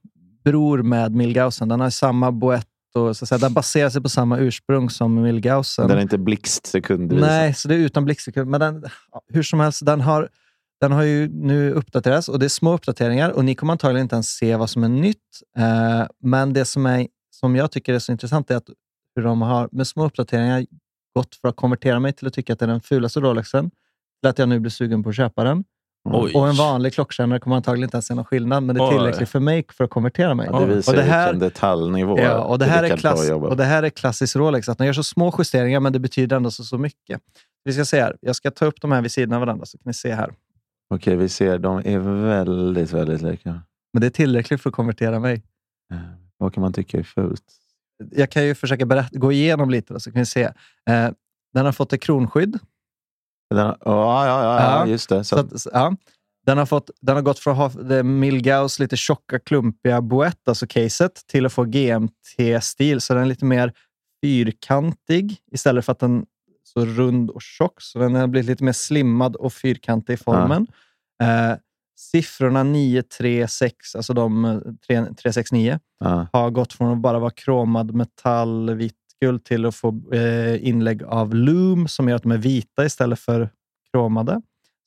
B: bror med Milgausen. Den har samma boett och så att säga, den baserar sig på samma ursprung som Milgausen.
D: Den är inte blixtsekundvis.
B: Nej, så det är utan blixtsekund. Men den, ja, hur som helst, den har, den har ju nu uppdaterats och det är små uppdateringar och ni kommer antagligen inte ens se vad som är nytt. Eh, men det som, är, som jag tycker är så intressant är att hur de har med små uppdateringar gått för att konvertera mig till att tycka att det är den fulaste Rolexen till att jag nu blir sugen på att köpa den.
C: Oj.
B: Och en vanlig klockkännare kommer antagligen inte ens se någon skillnad, men det är
C: Oj.
B: tillräckligt för mig för att konvertera mig.
D: Ja, det visar
B: och det här
D: vilken detaljnivå
B: Ja, och det, här är
D: Rickard
B: klass,
D: Bra jobbar.
B: och det här är klassisk Rolex, att de gör så små justeringar, men det betyder ändå så, så mycket. Vi ska se här. Jag ska ta upp de här vid sidan av varandra, så kan ni se här.
D: Okej, vi ser. De är väldigt, väldigt lika.
B: Men det är tillräckligt för att konvertera mig.
D: Eh, Vad kan man tycka är fult?
B: Jag kan ju försöka berätta, gå igenom lite, då, så kan ni se. Eh, den har fått ett kronskydd.
D: Den, ja, ja, ja, ja,
B: Ja,
D: just det. Så
B: Så att, ja. den, har fått, den har gått från att ha det Milgaus lite tjocka, klumpiga boett, alltså caset, till att få GMT-stil. Så den är lite mer fyrkantig istället för att den är så rund och tjock. Så den har blivit lite mer slimmad och fyrkantig i formen. Eh, siffrorna 936, alltså de eh, tre- 369,
D: ja.
B: har gått från att bara vara kromad metall, vitt guld till att få eh, inlägg av loom som gör att de är vita istället för kromade.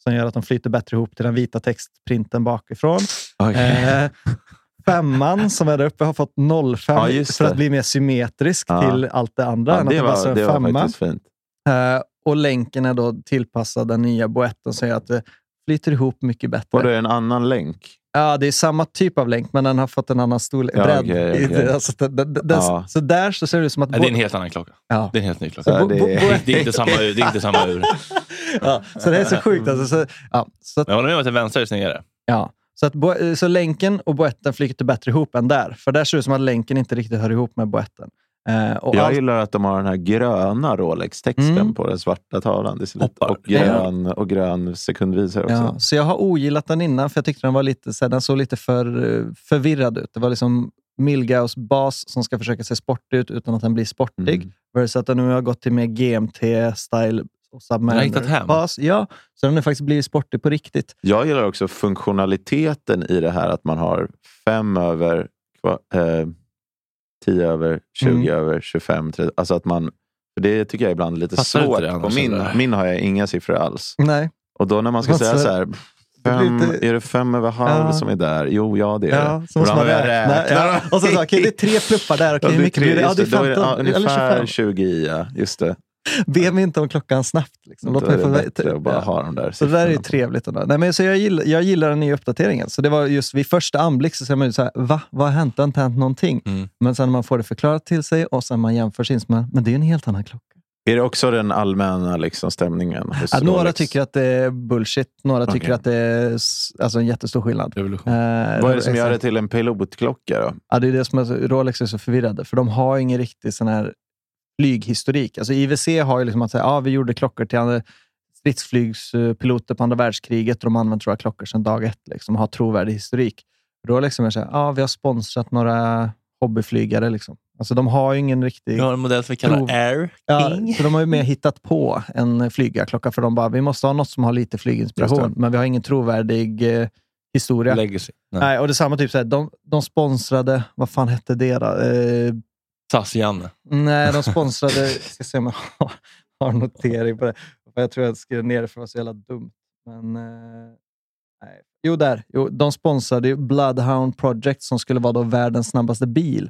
B: Som gör att de flyter bättre ihop till den vita textprinten bakifrån.
D: Okej.
B: Eh, femman som är där uppe har fått 05
D: Ja, just
B: för
D: det.
B: att bli mer symmetrisk
D: Ja.
B: till allt det andra.
D: ja,
B: än att
D: det
B: bara står
D: var,
B: en
D: det var
B: femma.
D: faktiskt fint.
B: Eh, och länken är då tillpassad den nya boetten som gör att det flyter ihop mycket
D: Och det
B: bättre.
D: är en annan länk.
B: Ja, det är samma typ av länk, men den har fått en annan storlek.
D: Ja,
B: bredd.
D: okej,
B: i-
D: okej.
B: Alltså, den, den, den,
D: Ja.
B: Så där så ser det ut som att...
C: Nej, det är en helt annan klocka.
B: ja.
C: Det är en helt ny
D: Så
C: klocka.
D: här,
B: bo- bo-
D: det,
B: bo-
D: är-
C: Det är inte samma ur. Det är inte samma ur.
B: ja, så det är så sjukt. Alltså, så, ja, så, att,
C: Men jag håller med om att den vänstra är snyggare.
B: ja. så, att, bo- så länken och boetten flyter bättre ihop än där. För där ser det ut som att länken inte riktigt hör ihop med boetten. Eh, och
D: jag
B: allt-
D: gillar att de har den här gröna Rolex-texten
B: Mm.
D: på den svarta tavlan. Det ser lite,
C: Hoppar.
D: och, grön, och grön sekundvisare också. Mm.
B: Ja, så jag har ogillat den innan, för jag tyckte den, var lite, så här, den såg lite för eh, förvirrad ut. Det var liksom Milgaus bas som ska försöka se sportig ut utan att den blir sportig.
D: Mm.
B: Versus att den nu har gått till mer GMT-style och
C: har hittat hem.
B: Submariner-bas. Ja, så den har faktiskt blivit sportig på riktigt.
D: Jag gillar också funktionaliteten i det här att man har 5 över, 10 över, 20
B: Mm.
D: över, 25, 30. Alltså att man, för det tycker jag ibland är lite
C: Passar inte
D: svårt.
C: det
D: och
C: annars,
D: min,
C: eller?
D: min har jag inga siffror alls.
B: Nej.
D: Och då när man ska
B: Vad
D: säga
B: så-
D: så här,
B: Alltså, blir
D: fem,
B: lite-
D: är det fem över halv
B: Ja.
D: som är där? Jo, ja det är
B: Ja,
D: det.
B: så måste man
D: Ibland har jag
B: räkna. Ja.
D: räknat.
B: Och så, så, okej, det är tre pluppar där.
D: Ja,
B: Okej, hur mycket
D: tre,
B: blir det? Ja,
D: just
B: det är
D: då är det,
B: 15
D: ja,
B: eller
D: ungefär
B: 25.
D: 20 i, ja. Just det.
B: Be mig inte om klockan snabbt. Liksom.
D: Då
B: Låt mig
D: är det
B: få
D: bättre att bara
B: Ja.
D: ha de där
B: Så det där är ju
D: siffrorna.
B: trevligt. Ändå. Nej, men så jag, gillar, jag gillar den nya uppdateringen. Så det var just vid första anblick så ser man ju så här, va? Vad har hänt? Det har inte hänt någonting.
C: Mm.
B: Men sen när man får det förklarat till sig och sen man jämför sin, men, men det är ju en helt annan klocka.
D: Är det också den allmänna liksom, stämningen? hos
B: Ja, några
D: Rolex?
B: tycker att det är bullshit, några tycker
D: Okej.
B: att det är s- alltså, en jättestor skillnad. Eh,
C: Revolution.
D: Vad är det som
B: exakt.
D: gör det till en pilotklocka då?
B: Ja, det är det som är så, Rolex är så förvirrade, för de har ingen riktig sån här flyghistorik. Alltså IWC har ju liksom att säga, ja, vi gjorde klockor till andra- stridsflygspiloter på andra världskriget och de har använt våra klockor sedan dag ett liksom, och har trovärdig historik. Rolex är mer så här, ja, vi har sponsrat några hobbyflygare. Liksom. Alltså, de har ju ingen riktig...
C: Vi har en modell som vi kallar
B: Prov.
C: Air
B: Ja,
C: King.
B: så de har ju mer hittat på en flygarklocka för de bara, vi måste ha något som har lite
D: Just
B: flyginspiration, men vi har ingen trovärdig eh, historia.
C: Legacy. Nej.
B: Nej, och det är samma typ, så här, de, de sponsrade, vad fan hette det då? Eh,
C: SAS-Janne.
B: Nej, de sponsrade... ska se om jag har, har notering på det. För Jag tror jag skrev ner det för det var så jävla dumt. Men, eh, nej. Jo, där. Jo, de sponsrade ju Bloodhound Project som skulle vara då världens snabbaste bil.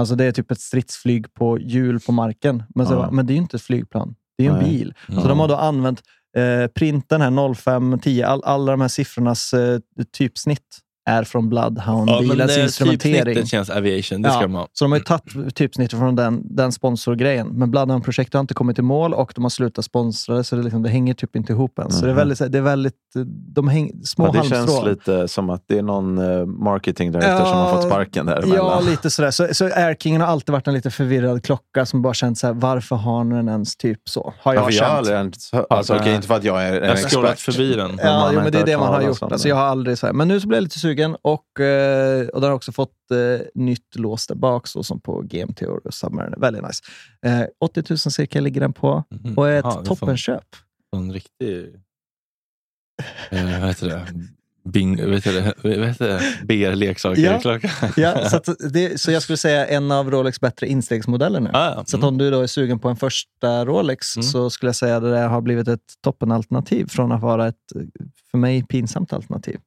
B: Alltså Det är typ ett stridsflyg på hjul på marken. Men, så,
D: Ja.
B: bara, men det är ju inte ett flygplan. Det är ju en
D: Nej.
B: bil.
C: Mm.
B: Så de har då använt eh, printen här 05, 10. All, alla de här siffrornas eh, typsnitt är från Bloodhound-bilens
C: eh,
B: instrumentering.
C: typsnittet känns aviation. Det
B: Ja.
C: ska man
B: Så de har ju
D: Mm.
B: tagit typsnittet från den, den sponsorgrejen. Men bland projekt har inte kommit till mål och de har slutat sponsra det, så det, liksom, det hänger typ inte ihop än. Så det är
D: Mhm.
B: väldigt, så här- det är väldigt eh, de häng, små
D: Ja, det känns
B: halmstrån.
D: lite som att det är någon eh, marketing därefter som har
B: Ja,
D: fått sparken däremellan.
B: Ja, lite sådär. Så, så Air Kingen har alltid varit en lite förvirrad klocka som bara känt så här, varför har ni den ens typ så? Har
D: Ja,
B: jag
D: för jag har
B: känt.
D: aldrig ens hört- alltså,
C: Nej.
D: okej, inte för att jag är en
C: Jag har scrollat
D: expert.
C: förbi den.
D: man
B: Ja,
D: har
B: jo, men
D: inte
B: det är det
D: hört
B: man har
D: talas
B: gjort.
D: om
B: Alltså,
D: det.
B: jag har aldrig så här. Men nu så blev jag lite sugen och, eh, och den har också fått eh, nytt lås där bak, så som på GMT och Submariner. Väldigt nice. Eh, 80 000 cirka ligger den på.
C: Mhm.
B: Och ett
C: Jaha, det är
B: toppenköp.
C: En sån riktig... Eh, vad heter det? Bing, vad heter det? Vad heter det? BR-leksaker-klocka.
B: Ja, så, att det, så jag skulle säga en av Rolex bättre instegsmodeller nu.
C: Ah, ja.
B: Så att om du då är sugen på en första Rolex
C: Mm.
B: så skulle jag säga att det där har blivit ett toppenalternativ från att vara ett, för mig, pinsamt alternativ.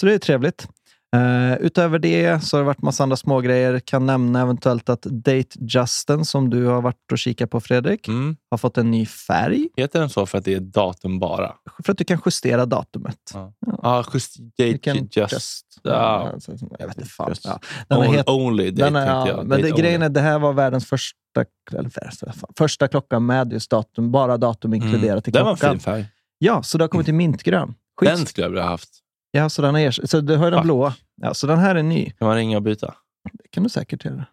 B: Så det är trevligt. Eh, utöver det så har det varit massa andra smågrejer. Kan nämna eventuellt att Date Justin, som du har varit och kikat på Fredrik,
C: Mm. Mm.
B: har fått en ny färg
C: Heter den så för att det är datum bara?
B: för att du kan justera datumet.
C: Ah, just, date,
B: Du kan
C: just, ah.
B: ja, jag vet inte fan.
D: Just-
B: Ja. Den har
C: on-
B: het-
C: only date,
B: Den är,
C: tänkte
B: ja,
C: jag.
B: men det,
C: Date
B: grejen
C: only.
B: är det här var världens första, eller första, första klocka med just datum, bara datum inkluderat i
C: Den Mm, var en
B: klockan.
C: fin färg.
B: Ja, så det har kommit i mintgrön. Skit.
C: Den skulle jag vilja ha haft.
B: Ja, så den har ers- så du har ju den
C: Fuck.
B: blåa. Ja, så den här är ny.
C: Kan man ringa och byta?
B: Det kan du säkert göra.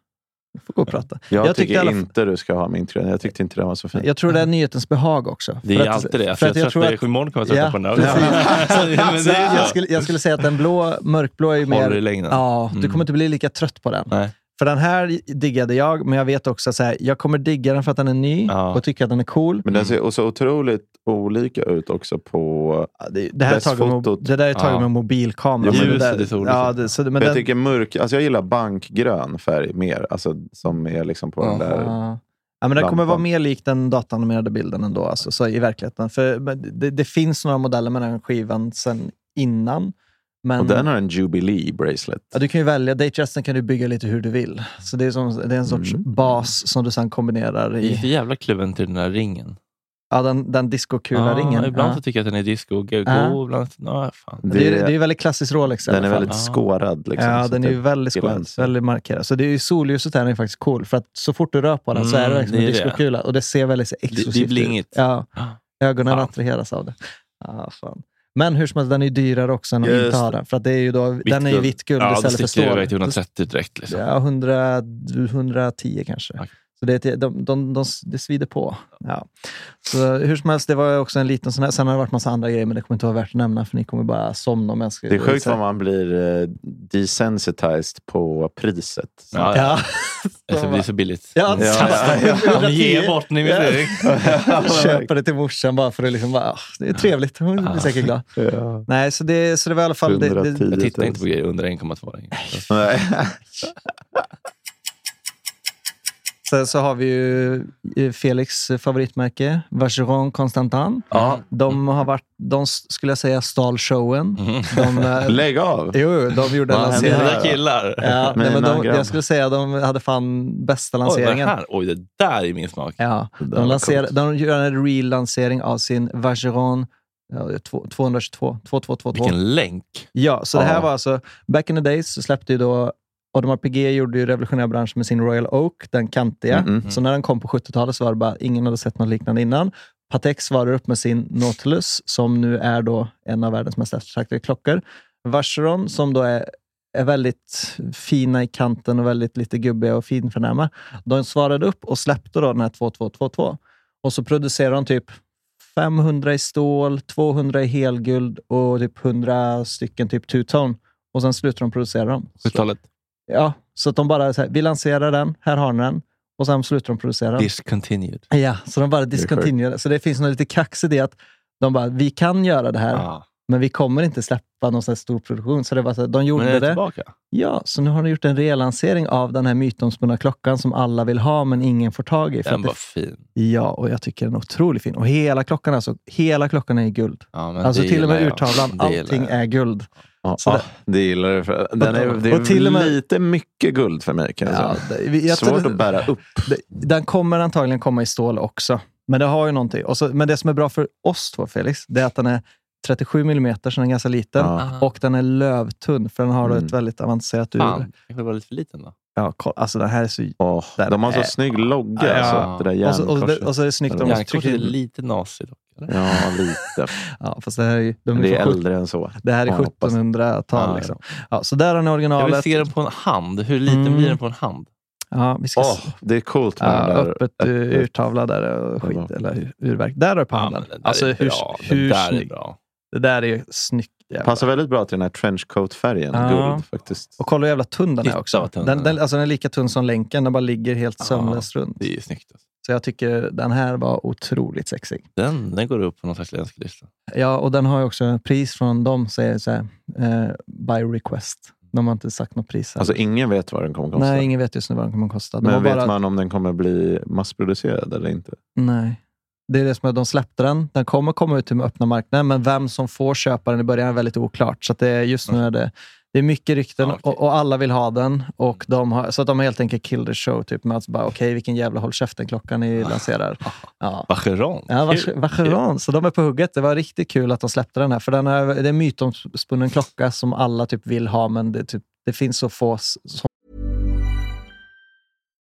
B: Du får gå och prata.
D: Jag,
B: Jag tyckte i
D: tycker
B: alla fall-
D: inte du ska ha min tröja. Jag tyckte inte den var så fin.
B: Jag tror det är nyhetens behag också.
C: Det
B: För
C: är
B: att-
C: alltid det.
B: För
C: För
B: att jag tror
C: tröttnar,
B: att...
C: att... Imorgon kommer jag tröttna
B: Ja,
C: på den
B: precis.
C: här. Ja, men
B: Så
C: det är ju
B: jag,
C: så.
B: skulle, jag skulle säga att den blå, mörkblå är ju
C: Håller i
B: mer...
C: längden.
B: Ja, du
C: Mm.
B: kommer inte bli lika trött på den.
C: Nej.
B: För den här diggade jag, men jag vet också att jag kommer digga den för att den är ny
C: Ja.
B: och tycker att den är cool.
D: Men den ser så otroligt olika ut också på...
B: Ja, Det, det, här är
D: Bäst
B: taget med,
D: fotot.
B: det där är taget
C: Ja.
B: med mobilkamera.
D: Ja,
B: men
C: ljuset
B: det
C: är så
B: där,
C: olika.
B: ja, det, så, det- men
D: jag
B: den,
D: tycker mörk... Alltså jag gillar bankgrön färg mer. Alltså som är liksom på den där...
B: ja. Ja, men den kommer
D: lampan.
B: vara mer lik den datanimerade bilden ändå, alltså, så i verkligheten. För, men det, det finns några modeller med den skivan sen innan. Men,
D: Och den har en Jubilee bracelet.
B: ja, du kan ju välja. Datejazzen kan du bygga lite hur du vill. Så det är, som, det är en sorts
D: Mm.
B: bas som du sen kombinerar
C: Det är
B: i.
C: lite jävla kluven till den här ringen.
B: Ja, den, den discokula-ringen.
C: Ja, ibland
B: Ja.
C: så tycker jag att den är disco och go,
B: Ja.
C: ibland... Ja, fan.
B: Det, är, det är väldigt klassiskt Rolex. i
D: den
B: alla
D: är
B: fall.
C: Ah.
D: väldigt skårad. Liksom,
B: ja,
D: så
B: den
D: att
B: är ju
C: typ
D: det-
B: väldigt
D: gillar
B: skön.
D: den, så.
B: Väldigt markerad. Så det är ju solljuset här är faktiskt cool. För att så fort du rör på den så är det
C: Mm,
B: liksom
C: det
B: en
C: är det.
B: diskokula. Och det ser väldigt så
C: det är
B: exklusivt
C: blingigt.
B: ut. Ja, ögonen
C: Fan.
B: attraheras av det. Ja, fan. Men hur som helst, den är ju dyrare också än att
C: Just
B: inte ha
C: det.
B: den. För att det är ju då, den är ju
C: guld.
B: vitt guld
C: Ja, då
B: istället för
C: sticker jag iväg till
B: stål.
C: 130 direkt. Liksom.
B: Ja, 100, 110 kanske.
C: Okej.
B: Så det, är- de, de, de, det svider på. Ja. Så hur som helst, det var ju också en liten sån här. Sen har det varit massa andra grejer, men det kommer inte vara värt att nämna för ni kommer bara somna om jag ska
D: Det är sjukt
B: säga.
D: vad man blir eh, desensitized på priset.
C: Ja, ja.
B: Ja,
C: Alltså, det blir så billigt.
B: Ja,
D: Ja,
B: ja,
D: ja,
B: ja.
C: Ge bort, ni vet
B: Ja.
C: Erik.
B: Köper det till morsan bara för att liksom bara, ah, det är trevligt. Hon blir
C: Ja.
B: säkert glad. Nej, så det, så det var i alla fall... Det, det,
D: 110.
C: Jag tittar inte på grejer under 1,2.
D: Nej.
B: sen så har vi ju eh, Felix favoritmärke, Vacheron Constantin.
C: Ja.
B: De har varit, de s- skulle jag säga stal showen.
C: Mm.
B: De, eh,
D: Lägg av!
B: jo, jo, de gjorde en
D: Vad hände
B: lansering.
D: här?
C: Mina killar.
B: Ja, nej, men
D: Mina
B: de,
D: grabb.
B: jag skulle säga de hade fan bästa
C: Oj, vad är det
B: lanseringen.
C: här? Oj, det där är min smak.
B: Ja,
D: där
B: de,
D: var
B: lanserar,
D: coolt.
B: de gör en relansering av sin Vacheron ja, två- 222. 2222.
C: Vilken länk.
B: Ja, så det här
D: Ja.
B: var alltså, back in the days så släppte ju då Audemars Piguet gjorde ju revolutionär bransch med sin Royal Oak, den kantiga.
D: Mm, mm.
B: Så när den kom på 70-talet så var det bara, ingen hade sett något liknande innan. Patek svarade upp med sin Nautilus, som nu är då en av världens mest eftertraktade klockor. Vacheron, som då är, är väldigt fina i kanten och väldigt lite gubbiga och finförnäma. De svarade upp och släppte då den här 2222. Och så producerade de typ 500 i stål, 200 i helguld och typ 100 stycken typ two-tone. Och sen slutar de producera dem.
C: 70-talet.
B: Ja, så att de bara, så här, vi lanserar den, här har ni den. Och sen slutar de producera den.
C: Discontinued.
B: Ja, så de bara
D: är sjukt.
B: discontinuerade. Så det finns något lite kaxigt i att de bara, vi kan göra det här,
C: Ja.
B: men vi kommer inte släppa någon sån här stor produktion. Så det var så här, de
C: Men
B: gjorde
C: är det
B: det.
C: tillbaka?
B: Ja, så nu har de gjort en relansering av den här mytomspunna klockan som alla vill ha, men ingen får tag i. För
C: Den
B: att
C: var
B: det,
C: fin.
B: ja, och jag tycker den är otroligt fin. Och hela klockan, alltså, hela klockan är i guld.
C: Ja, men
B: Alltså
C: det
B: till och med
C: gillar jag.
B: urtavlan,
C: Det gillar
B: allting
C: jag.
B: är guld.
D: Ja,
B: Så där.
D: det gillar jag. för- Den är, det är
B: Och till och med-
D: lite mycket guld för mig kan jag
B: Ja,
D: säga.
B: Alltså, det, vi- jag
D: Svårt
B: tror-
D: att bära upp.
B: Det- Den kommer antagligen komma i stål också. Men det har ju någonting. Och så, men det som är bra för oss två, Felix, det är att den är 37 millimeter så den är ganska liten.
D: Ja.
C: Ah,
B: Och den är lövtunn, för den har då
D: Mm.
B: ett väldigt avancerat ur.
C: Fan, kanske var lite för liten då.
B: Ja, koll, alltså den här är så...
D: Åh,
B: Den
D: de har så
B: är-
D: snygg logga.
C: Ja.
D: Alltså, det där
B: Eh, Och så, och,
D: järnkorset.
B: det, och så är det snyggt om de
D: måste
C: Järnkorset
B: trycker
C: är
B: in...
C: lite nasig dock. eller?
D: Ja, lite.
B: Ja, fast det här är ju... De
D: Men
B: är
D: det är
B: från sjut-
D: äldre än så.
B: det här är
D: Ja, jag hoppas.
B: 1700-tal.
C: Ja,
B: liksom. ja, så där har ni
C: Jag vill
B: originalet.
C: se den på en hand. Hur liten
B: Mm.
C: blir den på en hand?
B: Ja, vi ska...
D: Åh,
B: se.
D: det är coolt med
B: Ja,
D: den där.
B: öppet
D: ett-
B: ur- urtavla där och
D: Ja.
B: skit, eller ur- urverk. Där har du på
C: Ja,
B: handen.
C: men den där
B: alltså,
C: är
B: hur,
C: bra. Den
B: hur
C: där är
B: snyggt.
C: bra.
B: Det där är ju snyggt. jävlar.
D: Passar väldigt bra till den här trenchcoat-färgen.
B: Ja.
D: Guld faktiskt.
B: Och kolla hur jävla tunn den är
C: Titta
B: också.
C: vad tunn
B: Den,
C: den är.
B: den, alltså den är lika tunn som länken. Den bara ligger helt
C: Ja.
B: sömlöst runt.
C: Det är ju snyggt. Alltså.
B: Så jag tycker den här var otroligt sexig.
C: Den, den går upp på någon slags önskelista.
B: Ja, och den har ju också ett pris från dem. Säger så här, eh, by request. De har inte sagt något pris. Här.
D: Alltså ingen vet vad den kommer kosta.
B: Nej, ingen vet just nu vad den kommer att kosta. De har
D: Men vet
B: bara,
D: man om den kommer bli massproducerad eller inte?
B: Nej. Det är det som är att de släppte den. Den kommer komma ut till öppna marknaden, men vem som får köpa den i början är väldigt oklart. Så att det, är- just nu är det, det är mycket rykten
C: Ja, Mm. Ah, okej. Mm.
B: och, och alla vill ha den. Och de har, så att de har helt enkelt killed the show. Typ, med att bara, okej, vilken jävla håll käften-klocka ni lanserar. Ja.
C: Vacheron.
B: Ja,
C: Ah, Kul.
B: Vache- Vacheron. Så de är på hugget. Det var riktigt kul att de släppte den här. För den är, det är en mytomspunnen klocka som alla typ vill ha, men det, typ, det finns så få s- som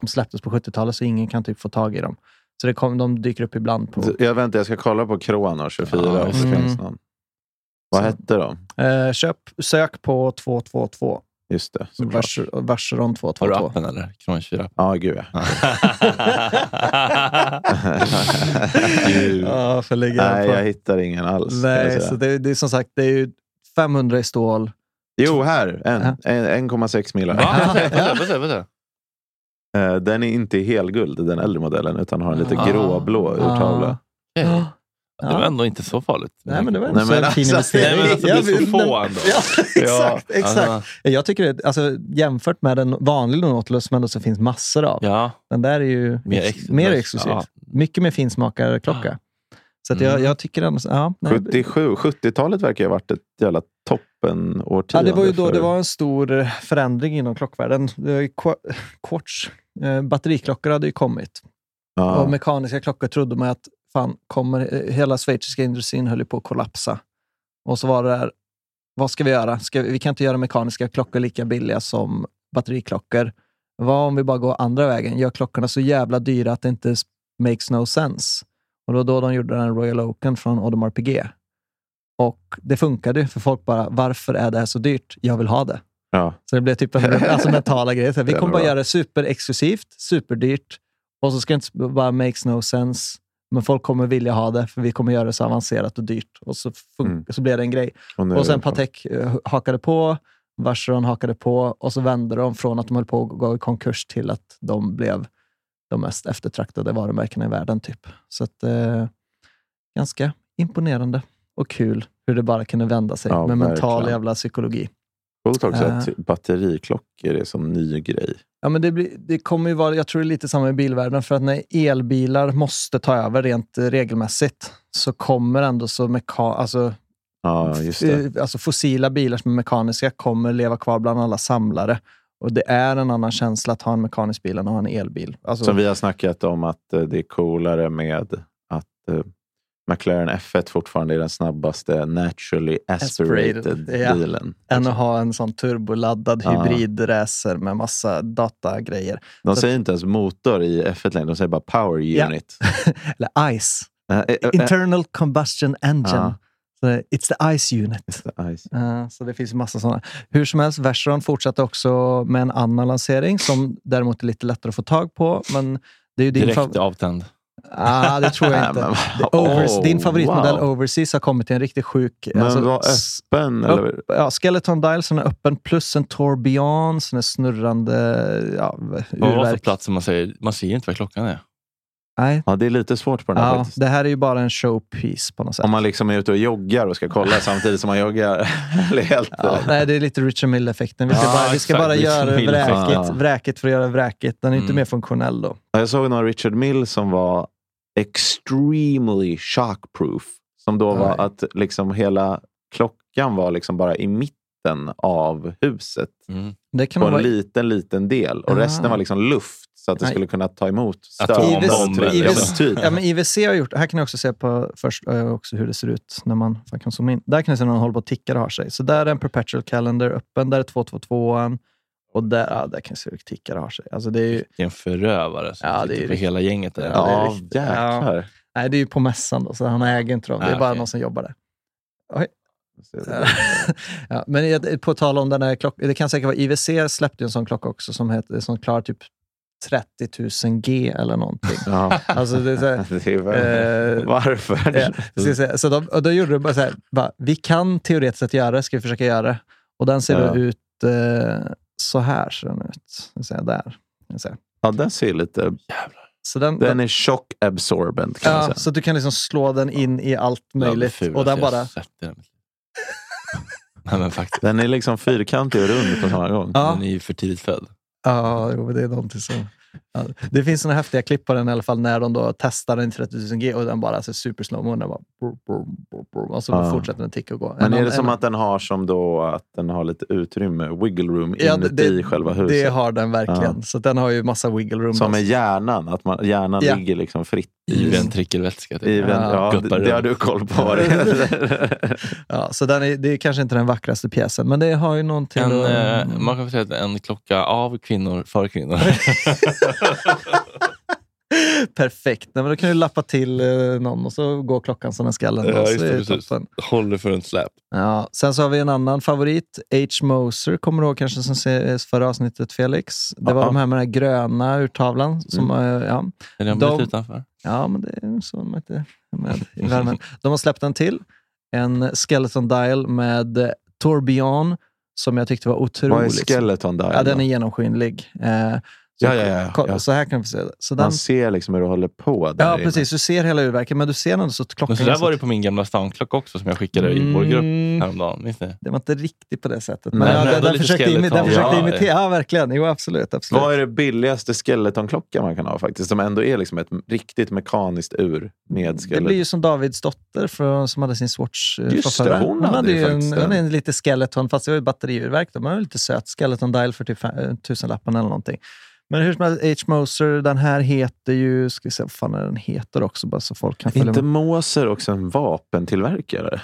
B: de släpptes på 70-talet så ingen kan typ få tag i dem. Så det kom, de dyker upp ibland på...
D: Jag väntar, jag ska kolla på Kronor 24.
C: Ja,
D: och
C: just
D: så
B: det.
D: finns någon. Vad
B: Så.
D: hette de?
B: Eh, köp, sök på 222,
D: Just det. såklart.
B: Vers- Verseron
C: Har du
B: 222.
C: appen eller? Kronkyra.
D: Ja, gud ja. Gud.
B: Ja, för lägga
D: Nej,
B: på.
D: jag hittar ingen alls. ska jag
B: Nej,
D: säga.
B: så det, det är som sagt, det är ju 500 i stål.
D: Jo, här. En.
B: Ja.
D: En- 1,6 millar.
C: Va? Vänta, vänta, vänta.
D: Eh, Den är inte i helguld, den äldre modellen, utan har en lite
C: Ah.
D: gråblå urtavla.
C: Okej. Det var
B: Ja.
C: ändå inte så farligt.
B: Nej, men det var
D: Nej,
B: ändå
D: men
B: en fin
D: alltså,
C: Nej, men
B: investering.
C: alltså,
B: Ja,
C: det är så
B: men-
C: få ändå.
B: Ja, exakt. exakt.
C: Aha.
B: Jag tycker det, alltså, jämfört med en vanlig Nautilus som ändå så finns massor av.
C: Ja,
B: Den där är ju
C: mer,
B: ex-
C: ex-
B: mer exklusiv.
C: Ja.
B: Mycket mer finsmakarklocka. Så att jag,
C: Mm.
B: jag tycker ändå... så- Ja, nej,
D: 77. 70-talet verkar ha varit ett jävla toppen
B: ja,
D: årtionde.
B: det var ju då
D: för-
B: det var en stor eh, förändring inom klockvärlden. Det var ju qua- Quartz, eh, batteriklockor hade ju kommit.
D: Ja.
B: Och mekaniska klockor trodde man att fan, kommer, eh, hela schweiziska industrin höll ju på att kollapsa. Och så var det där, vad ska vi göra? Ska vi, vi kan inte göra mekaniska klockor lika billiga som batteriklockor. Vad om vi bara går andra vägen? Gör klockorna så jävla dyra att det inte s- makes no sense. Och då, då de gjorde den Royal Oaken från Audemars Piguet. Och det funkade ju, för folk bara, varför är det här så dyrt? Jag vill ha det.
D: Ja.
B: Så det blev typ en, alltså mentala grejer. Så här, vi
D: Det är
B: kommer
D: nog
B: bara
D: bra.
B: göra det superexklusivt, superdyrt och så ska det inte bara makes no sense. Men folk kommer vilja ha det, för vi kommer göra det så avancerat och dyrt. Och så, fun-
D: Mm.
B: så blev det en grej.
D: Och, nu,
B: Och sen Patek eh, hakade på, Vacheron hakade på och så vände de från att de höll på att gå i konkurs till att de blev de mest eftertraktade varumärkena i världen. typ. Så att, eh, ganska imponerande och kul hur det bara kunde vända sig
D: Ja,
B: med mental
D: verkligen.
B: jävla psykologi.
D: Coolt också
B: Eh.
D: att batteriklockor är som ny grej.
B: Ja, men det, blir, det kommer ju vara, jag tror det är lite samma i bilvärlden, för att när elbilar måste ta över rent eh, regelmässigt så kommer ändå så meka- alltså,
D: Ja, just det.
B: eh, alltså fossila bilar som är mekaniska kommer leva kvar bland alla samlare. Och det är en annan känsla att ha en mekanisk bil än att ha en elbil. Alltså,
D: Som vi har snackat om att eh, det är coolare med att eh, McLaren F1 fortfarande är den snabbaste naturally aspirated,
B: Aspirated, ja.
D: bilen.
B: än att ha en sån turboladdad
D: Ja.
B: hybridracer med massa datagrejer.
D: De säger inte ens motor i F1 längre, de säger bara power
B: Ja.
D: unit.
B: Eller ICE,
D: Eh, eh, eh,
B: Internal Combustion Engine.
D: Ja.
B: Så, eh, It's the ICE unit.
D: eh, nice.
B: Eh, Så det finns ju massa sådana. Hur som helst, Version fortsatte också med en annan lansering som däremot är lite lättare att få tag på. Men det är ju din
C: Direkt
B: fav-
C: avtänd.
B: ah, det tror jag inte.
D: Nej, Äh, men-
B: Overs-
D: Oh,
B: din favoritmodell
D: wow.
B: Overseas har kommit till en riktigt sjuk...
D: Men
B: alltså,
D: var
B: s-
D: öppen? Eller?
B: ja, Skeleton Dial som är öppen plus en Tourbillon som är snurrande ja,
C: Man var för
B: urverk.
C: plats som man säger, man ser inte vad klockan är.
B: Nej.
D: Ja, det är lite svårt på den här
B: Ja,
D: faktiskt.
B: det här är ju bara en showpiece på något sätt.
D: Om man liksom är ute och joggar och ska kolla samtidigt som man joggar. Eller helt,
B: Ja, nej, det är lite Richard Mill-effekten. Vi ska
C: Ja,
B: bara, vi ska
C: exakt.
B: bara
C: Richard
B: göra
C: Mill.
D: Ja.
B: vräkigt, vräkigt för att göra vräkigt. Den är inte
C: Mm.
B: mer funktionell då.
D: Jag såg någon Richard Mill som var extremely shockproof. Som då var
B: Oj.
D: att liksom hela klockan var liksom bara i mitten av huset.
C: Mm.
B: Det kan
D: På
B: man
D: en
B: vara
D: liten, liten del. Och
B: Ah.
D: resten var liksom luft. Så att det
B: Nej.
D: skulle kunna ta emot
C: Atombomber.
D: stötar. Ja, men
B: IVC
D: typ.
B: Ja, men IVC har gjort, här kan jag också se på först, eh, också hur det ser ut när man, man kan zooma in. Där kan jag se när man håller på och tickar och har sig. Så där är en perpetual calendar öppen, där är 222an och där, ja, där kan jag se hur tickar och har sig. Alltså det, är ju,
C: Det är en förövare som
B: Ja, det är
C: sitter på
B: riktigt-
C: hela gänget. Där.
B: Ja, det är
D: Ja,
B: riktigt.
D: jäklar.
B: nej, det är ju på mässan, då, så han äger inte dem. Det är
C: Ah,
B: bara
C: okej.
B: någon som jobbar där.
D: Ja.
B: ja, men jag- på tal om den här klockan, det kan säkert vara IVC släppte ju en sån klocka också som, heter, som klarar typ 30 000 G eller någonting. Alltså det är så här,
D: Det är väl-
B: Eh,
D: Varför?
B: Ja, jag ska säga. Så de, och då gjorde de bara så här, bara, vi kan teoretiskt sett göra det, ska vi försöka göra det? Och den ser
D: Ja.
B: då ut eh, så här. Ser den ut. Ska säga, där. Ska säga.
D: Ja, den ser lite...
B: Så den, den,
D: Den är shock absorbent kan man
B: ja,
D: säga.
B: så du kan liksom slå den in i allt
C: Det är det
B: möjligt.
C: fulaste
B: och den
C: jag
B: bara...
C: sett i hela mitt liv. Nej, men faktiskt.
D: Den är liksom fyrkantig och rund på samma gång.
B: Ja.
C: Den är ju för tidigt född.
B: Ja, jo, det är någonting som... Ja. Det finns såna häftiga klipp på den i alla fall när de då testar den i 30 000 G och den bara alltså, supersnowmo. Den bara... Brum, brum, brum, brum, och så
D: Ja.
B: fortsätter den ticka och gå.
D: Men är det
B: annan-
D: som att den har som då att den har lite utrymme, wiggle room
B: Ja,
D: inuti själva huset?
B: Det har den verkligen. Så den har ju massa wiggle room.
D: som
B: då.
D: med hjärnan, att man, hjärnan
B: Ja.
D: ligger liksom fritt.
C: I ventrikelvätska. typ.
D: I vän- ja,
C: Guppar
D: det, det har
C: runt.
D: du koll på. vad det heter.
B: Ja, så den är, det är kanske inte den vackraste pjäsen, men det har ju någonting...
C: En,
B: att-
C: eh, man kan väl säga att en klocka av kvinnor, för kvinnor.
B: Perfekt. Nej, men då kan du lappa till eh, någon och så går klockan som den ska. ändå,
C: Ja,
B: så
C: just det,
B: är
C: precis.
B: toppen.
C: Håller för en släp.
B: Ja, sen så har vi en annan favorit, H. Moser, kommer du ihåg kanske som ses förra avsnittet, Felix? Det var
D: Ja.
B: de här med den här gröna urtavlan. Som, eh, ja.
C: Är den
B: De-
C: blivit utanför?
B: ja, men det är så de inte är med i värmen. De har släppt en till, en Skeleton Dial med eh, Tourbillon, som jag tyckte var
D: Vad är
B: otroligt.
D: skeleton där?
B: ja, den är genomskinlig. Eh, så,
D: Ja, ja, ja,
B: kolla,
D: ja.
B: så här kan vi se det. Så den,
D: Man ser liksom hur du håller på. Där
B: ja,
D: inne.
B: precis. Du ser hela urverket, men du ser ändå så att klockan...
C: Men så där
B: är så-
C: var det på min gamla stanklocka också som jag skickade i vår grupp
B: Mm.
C: häromdagen. Minns ni?
B: Det var inte riktigt på det sättet. Men,
D: Nej,
B: ja,
C: men
B: den,
C: ändå
B: den,
C: lite
B: försökte imi- den
C: skeleton.
B: försökte
C: Ja,
B: imitera. Ja, verkligen. Jo, absolut. absolut.
D: Vad är det billigaste skeletonklocka man kan ha faktiskt? Som ändå är liksom ett riktigt mekaniskt ur med
B: det
D: skelet.
B: blir ju som Davids dotter från, som hade sin Swatch. eh,
D: Just
B: från
D: det,
B: förra.
D: hon hade ju
B: ju en,
D: faktiskt den.
B: hon är en lite skeleton, fast det var ju batteriurverk. då, men Hon var lite söt. Skeleton dial för typ fem- eh, tusenlappen eller någonting. Men hur som helst, H. Moser, den här heter ju... Ska vi se vad fan är den heter också, bara så folk kan följa
D: inte
B: med.
D: Moser också en vapentillverkare?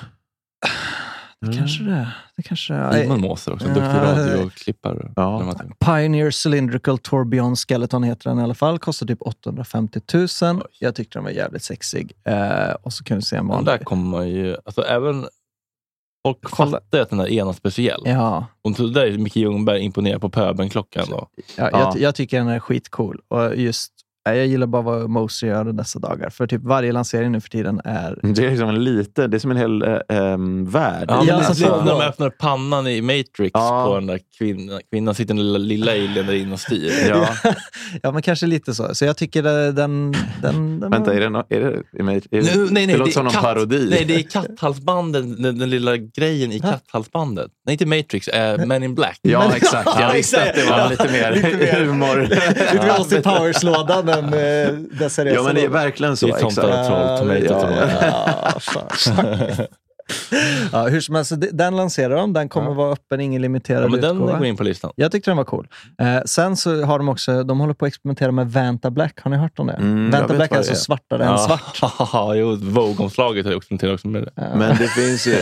D: Mm.
B: Det kanske det är. Det kanske Mm. det är.
C: Simon Moser också,
B: Ja.
C: en duktig radioklippare.
D: Ja.
C: Dramaturg.
B: Pioneer Cylindrical Tourbillon Skeleton heter den i alla fall. Kostar typ 850 000. Jag tyckte den var jävligt sexig. Eh, och så kan du se en
C: Den
B: vanlig.
C: där kommer man ju... Alltså även folk
B: Kolla.
C: fattar ju att den där är något speciell.
B: Ja,
C: Och så där är Micke Ljungberg imponerad på pöbelklockan. då.
B: ja,
D: Ja.
B: Jag, ty- jag tycker den är skitcool. Och just, nej, jag gillar bara vad Moser gör dessa dagar. För typ varje lansering nu för tiden är...
D: Det är, liksom en liten, det är som en hel eh, ehm, värld.
C: Ja,
B: Ja,
C: men
B: så
C: alltså,
B: får-
C: när de öppnar pannan i Matrix
D: Ja.
C: på den där kvinnan. Kvinnan sitter den lilla, lilla alien där inne och styr.
D: Ja.
B: ja, men kanske lite så. Så jag tycker eh, den... den, den
D: Vänta, är det, no, är det, är det, är det,
C: Nu, nej, nej,
D: det låter som någon
C: katt-
D: parodi.
C: Nej, det är katthalsbanden, den, den lilla grejen i katthalsbandet. Nej, inte Matrix, eh, Men in Black.
D: Ja, exakt. Jag visste att det var lite mer humor.
B: Lite mer Austin Powers-lådan än eh, dessa
D: Ja, men det är verkligen så.
C: Det är tomtar och
D: exakt.
C: troll, tomato,
D: Ja,
C: tomato.
B: Ja, fan. ja, hur som helst, det- den lanserar de. Den kommer vara öppen, ingen limiterad
C: Ja, men den
B: utgåva.
C: går in på listan.
B: Jag tyckte den var cool. Eh, sen så har de också, de håller på att experimentera med Vanta Black. Har ni hört om det?
D: Mm, jag
B: Vanta
D: vet
B: Black är
D: vad det
B: alltså
D: är.
B: svartare än svart.
C: Ja, jo, Vogue-omslaget har jag också till också med det.
D: Men det finns ju...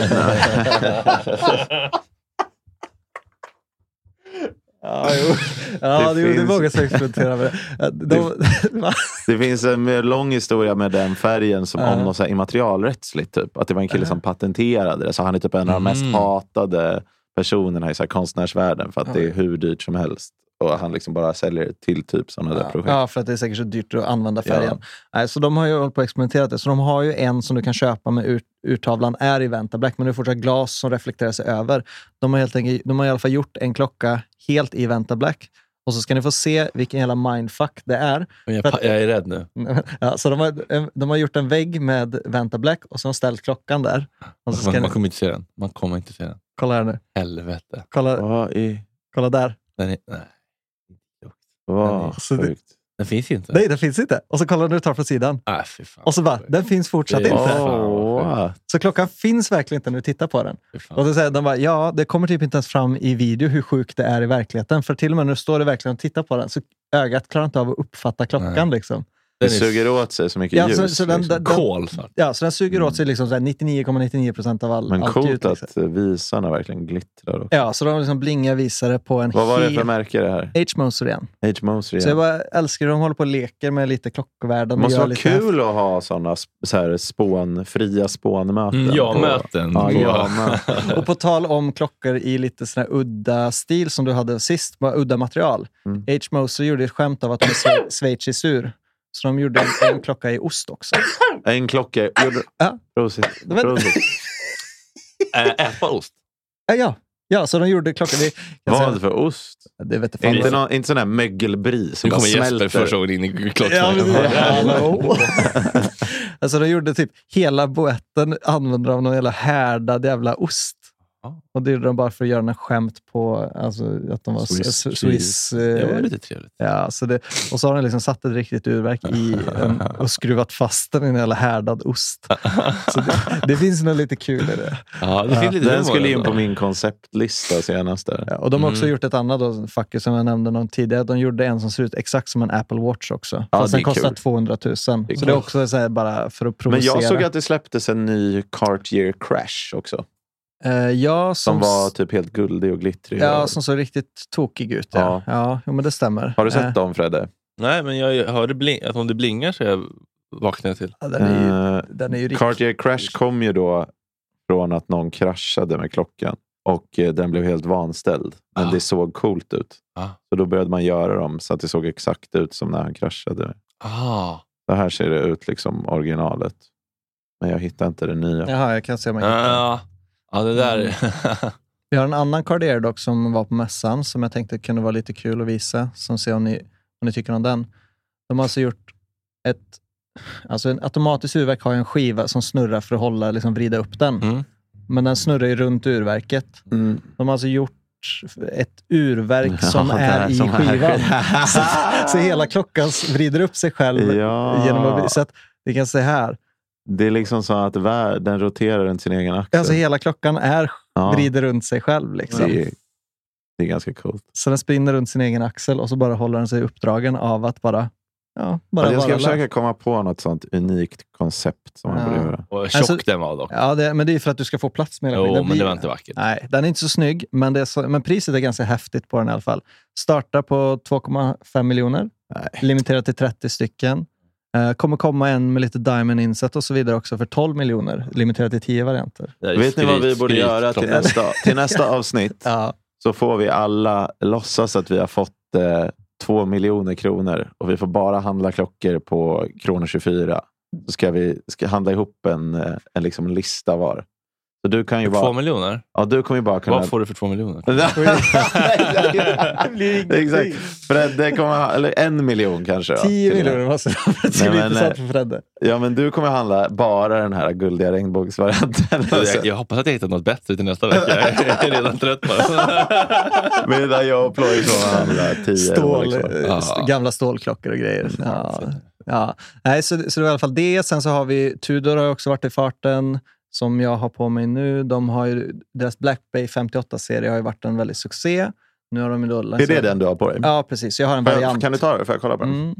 B: Ja, jo. ja det,
D: Det
B: jo, det är
D: finns-
B: många som experimenterar med det. Eh, De, Va?
D: Det finns en eh, lång historia med den färgen som
B: Ja.
D: om något så här immaterialrättsligt. Typ. Att det var en kille som patenterade det. Så han är typ en av de mest
C: Mm.
D: hatade personerna i så här konstnärsvärlden för att det är hur dyrt som helst. Och han liksom bara säljer till typ sådana där projekt.
B: ja, för att det är säkert så dyrt att använda färgen. Nej, så de har ju hållit på att experimentera det. Så de har ju en som du kan köpa med ur, urtavlan är i Vanta Black, men det är fortfarande glas som reflekterar sig över. De har, helt enkelt, de har i alla fall gjort en klocka helt i Vanta Black. Och så ska ni få se vilken jävla mindfuck det är.
C: Men Jag, pa- jag är rädd nu.
B: Ja, så de har, en- de har gjort en vägg med Vanta Black och så har de ställt klockan där. Och så ska
C: Man,
B: ni,
C: man kommer inte se den. Man kommer inte se den.
B: kolla här nu.
C: Helvete.
B: Kolla,
D: Vad i...
B: kolla där.
C: Den, är, nej,
D: Vad
B: Så det-
D: sjukt.
C: den finns inte.
B: Nej, den finns inte. Och så kollar du tar från sidan.
C: Ah, fy fan.
B: Och så bara, den finns fortsatt
C: Det är-
B: inte.
C: Fan,
D: Åh,
C: vad
D: what?
B: Så klockan finns verkligen inte när du tittar på den.
C: Fy fan.
B: Och så säger de bara, ja, det kommer typ inte ens fram i video hur sjukt det är i verkligheten. För till och med när du står i verkligheten och tittar på den så ögat klarar inte av att uppfatta klockan. Liksom.
D: Det
C: Den är
D: suger åt sig så mycket
B: Ja,
D: ljus.
B: så, så, den,
D: liksom.
B: den, den,
C: kolsvart.
B: ja, så den suger åt sig liksom så här 99,99 procent av all,
D: Men
B: allt
D: coolt
B: ljud. Liksom.
D: att eh, visarna verkligen glittrar. Också.
B: Ja, så de liksom blingar visare på en
D: Vad var det för
B: helt
D: märke det här?
B: H-Moser igen.
D: H. Moser
B: Så jag
D: igen.
B: bara älskar hur de håller på och leker med lite klockvärden.
D: Det
B: och
D: måste
B: gör
D: vara
B: lite
D: kul att ha sådana så här spån, fria spånmöten.
C: Mm,
D: på-
C: ja-möten.
D: Ja,
C: på-
D: ja-möten.
B: Och på tal om klockor i lite sån här udda stil som du hade sist, bara udda material.
D: Mm.
B: H. Moser gjorde ett skämt av att de är sve- schweizisur. Så de gjorde en, en klocka i ost också.
D: En klocka. Gjorde...
B: Ja.
D: Prosit.
B: Men-
D: Prosit.
C: Äh, Äppaost.
B: Ja, Äh, ja. ja så de gjorde klockor. Det, jag
D: Vad
B: säger,
D: för ost?
B: det vet jag
D: Inte,
B: fan.
D: någon, inte sån här mögelbris som
C: Nu
D: bara
C: kommer Jesper första
D: smälter.
C: gången in i
B: Ja, men det-
C: klockan.
B: Hallå. alltså de gjorde typ hela boetten använde de någon jävla härdad jävla ost.
C: Ja.
B: Och det gjorde de bara för att göra en skämt på alltså, att de var
D: Swiss
B: Swiss.
D: cheese.
B: Swiss
C: Det var
B: eh,
C: lite trevligt.
B: Ja, så det, och så har den liksom satt ett riktigt urverk i en, och skruvat fast den i en jävla härdad ost. Så det, det finns något lite kul i det.
C: Ja, det finns lite humor
D: Den skulle in
C: ändå.
D: på min konceptlista senast. Där.
B: Ja, och de har också
C: Mm.
B: gjort ett annat då, fucker som jag nämnde någon tidigare. De gjorde en som ser ut exakt som en Apple Watch också.
D: Ja,
B: Fast
D: det
B: den
D: är
B: kostar
D: kul.
B: 200 000. så
D: är
B: det är
D: kul.
B: också så här bara för att
D: Men
B: provocera.
D: jag såg att det släpptes en ny Cartier Crash också.
B: Eh, ja, som,
D: Som var typ helt guldig och glittrig.
B: Ja,
D: och...
B: som såg riktigt tokig ut. Ja, ja. jo, men det stämmer.
D: Har du
B: Eh,
D: sett dem Fredde?
C: Nej, men jag hörde bling- att om det blingar så jag vaknar jag till.
B: Ja, den är ju,
D: Eh,
B: den är ju riktigt...
D: Cartier Crash kom ju då från att någon kraschade med klockan och eh, den blev helt vanställd. Men
C: Ah.
D: det såg coolt ut.
C: Ah.
D: Så då började man göra dem så att det såg exakt ut som när han kraschade.
C: Ah.
D: Så här ser det ut, liksom originalet. Men jag hittar inte det nya.
B: Jaha, jag kan se om jag
D: Ah.
B: hittar den.
C: Ja, ja det där.
B: Vi har en annan Cardier dock som var på mässan som jag tänkte kunde vara lite kul att visa. Som ser om ni, om ni tycker om den. De har alltså gjort ett... Alltså en automatisk urverk har ju en skiva som snurrar för att hålla, liksom vrida upp den.
C: Mm.
B: Men den snurrar ju runt urverket.
D: Mm.
B: De har alltså gjort ett urverk som
D: Ja,
B: är
D: där,
B: i
D: som är-
B: skivan. så, så hela klockan vrider upp sig själv.
D: Ja.
B: Mm. Genom att, så att, vi kan se här.
D: Det är liksom så att världen roterar runt sin egen axel.
B: Alltså hela klockan är,
D: Ja,
B: vrider runt sig själv. Liksom.
D: det, är, det är ganska coolt.
B: Så den spinner runt sin egen axel och så bara håller den sig uppdragen av att bara... Ja, bara Ah.
D: Ja, jag ska
B: vara
D: försöka
B: lös.
D: komma på något sånt unikt koncept som man
B: Ja.
D: borde göra.
C: Och tjock
B: Alltså-
C: den var dock.
B: Ja, det, men det är för att du ska få plats med hela
C: Jo,
B: skiten. Den
C: men det
B: blir-
C: var inte vackert.
B: Nej, den är inte så snygg, men, det är så, men priset är ganska häftigt på den i alla fall. Startar på 2,5 miljoner.
D: Nej.
B: Limiterat till 30 stycken. Eh, kommer komma en med lite diamond inset och så vidare också för 12 miljoner. Limiterat till 10 varianter.
C: Det är
D: Vet ni vad
C: skryt-
D: vi borde
C: skryt-
D: göra till
C: klockan.
D: nästa, till nästa avsnitt?
B: Ja.
D: Så får vi alla låtsas att vi har fått eh, två miljoner kronor och vi får bara handla klockor på kronor 24. Så ska vi ska handla ihop en, eh, en liksom lista var. Så du kan ju
C: Två
D: bara...
C: miljoner?
D: Ja, du kommer ju bara kunna...
C: Vad får du för två miljoner?
D: det blir Exakt. Fredde kommer ha, eller en miljon kanske. då,
B: 10
D: till och med.
B: miljoner måste det
D: Nej,
B: bli
D: men,
B: intressant
D: eh,
B: för Fredde.
D: Ja, men du kommer handla bara den här guldiga regnbågsvarianten.
C: Jag, jag hoppas att jag hittar något bättre till nästa vecka. Jag är redan trött på det.
D: Medan jag och Ploy kommer handla tio
B: Stål,
D: Rolex var.
B: eh,
C: Ja.
B: st- Gamla stålklockor och grejer. Ja. Ja. Nej, så, så det var i alla fall det. Sen så har vi Tudor har också varit i farten, som jag har på mig nu. De har ju, deras Black Bay 58-serie har ju varit en väldig succé. Nu har de ju då
D: Är det
B: lanserat-
D: den du har på dig?
B: Ja, precis. Så jag har en
D: Får jag,
B: variant.
D: kan du ta den? Får jag kolla på den?
B: Mm.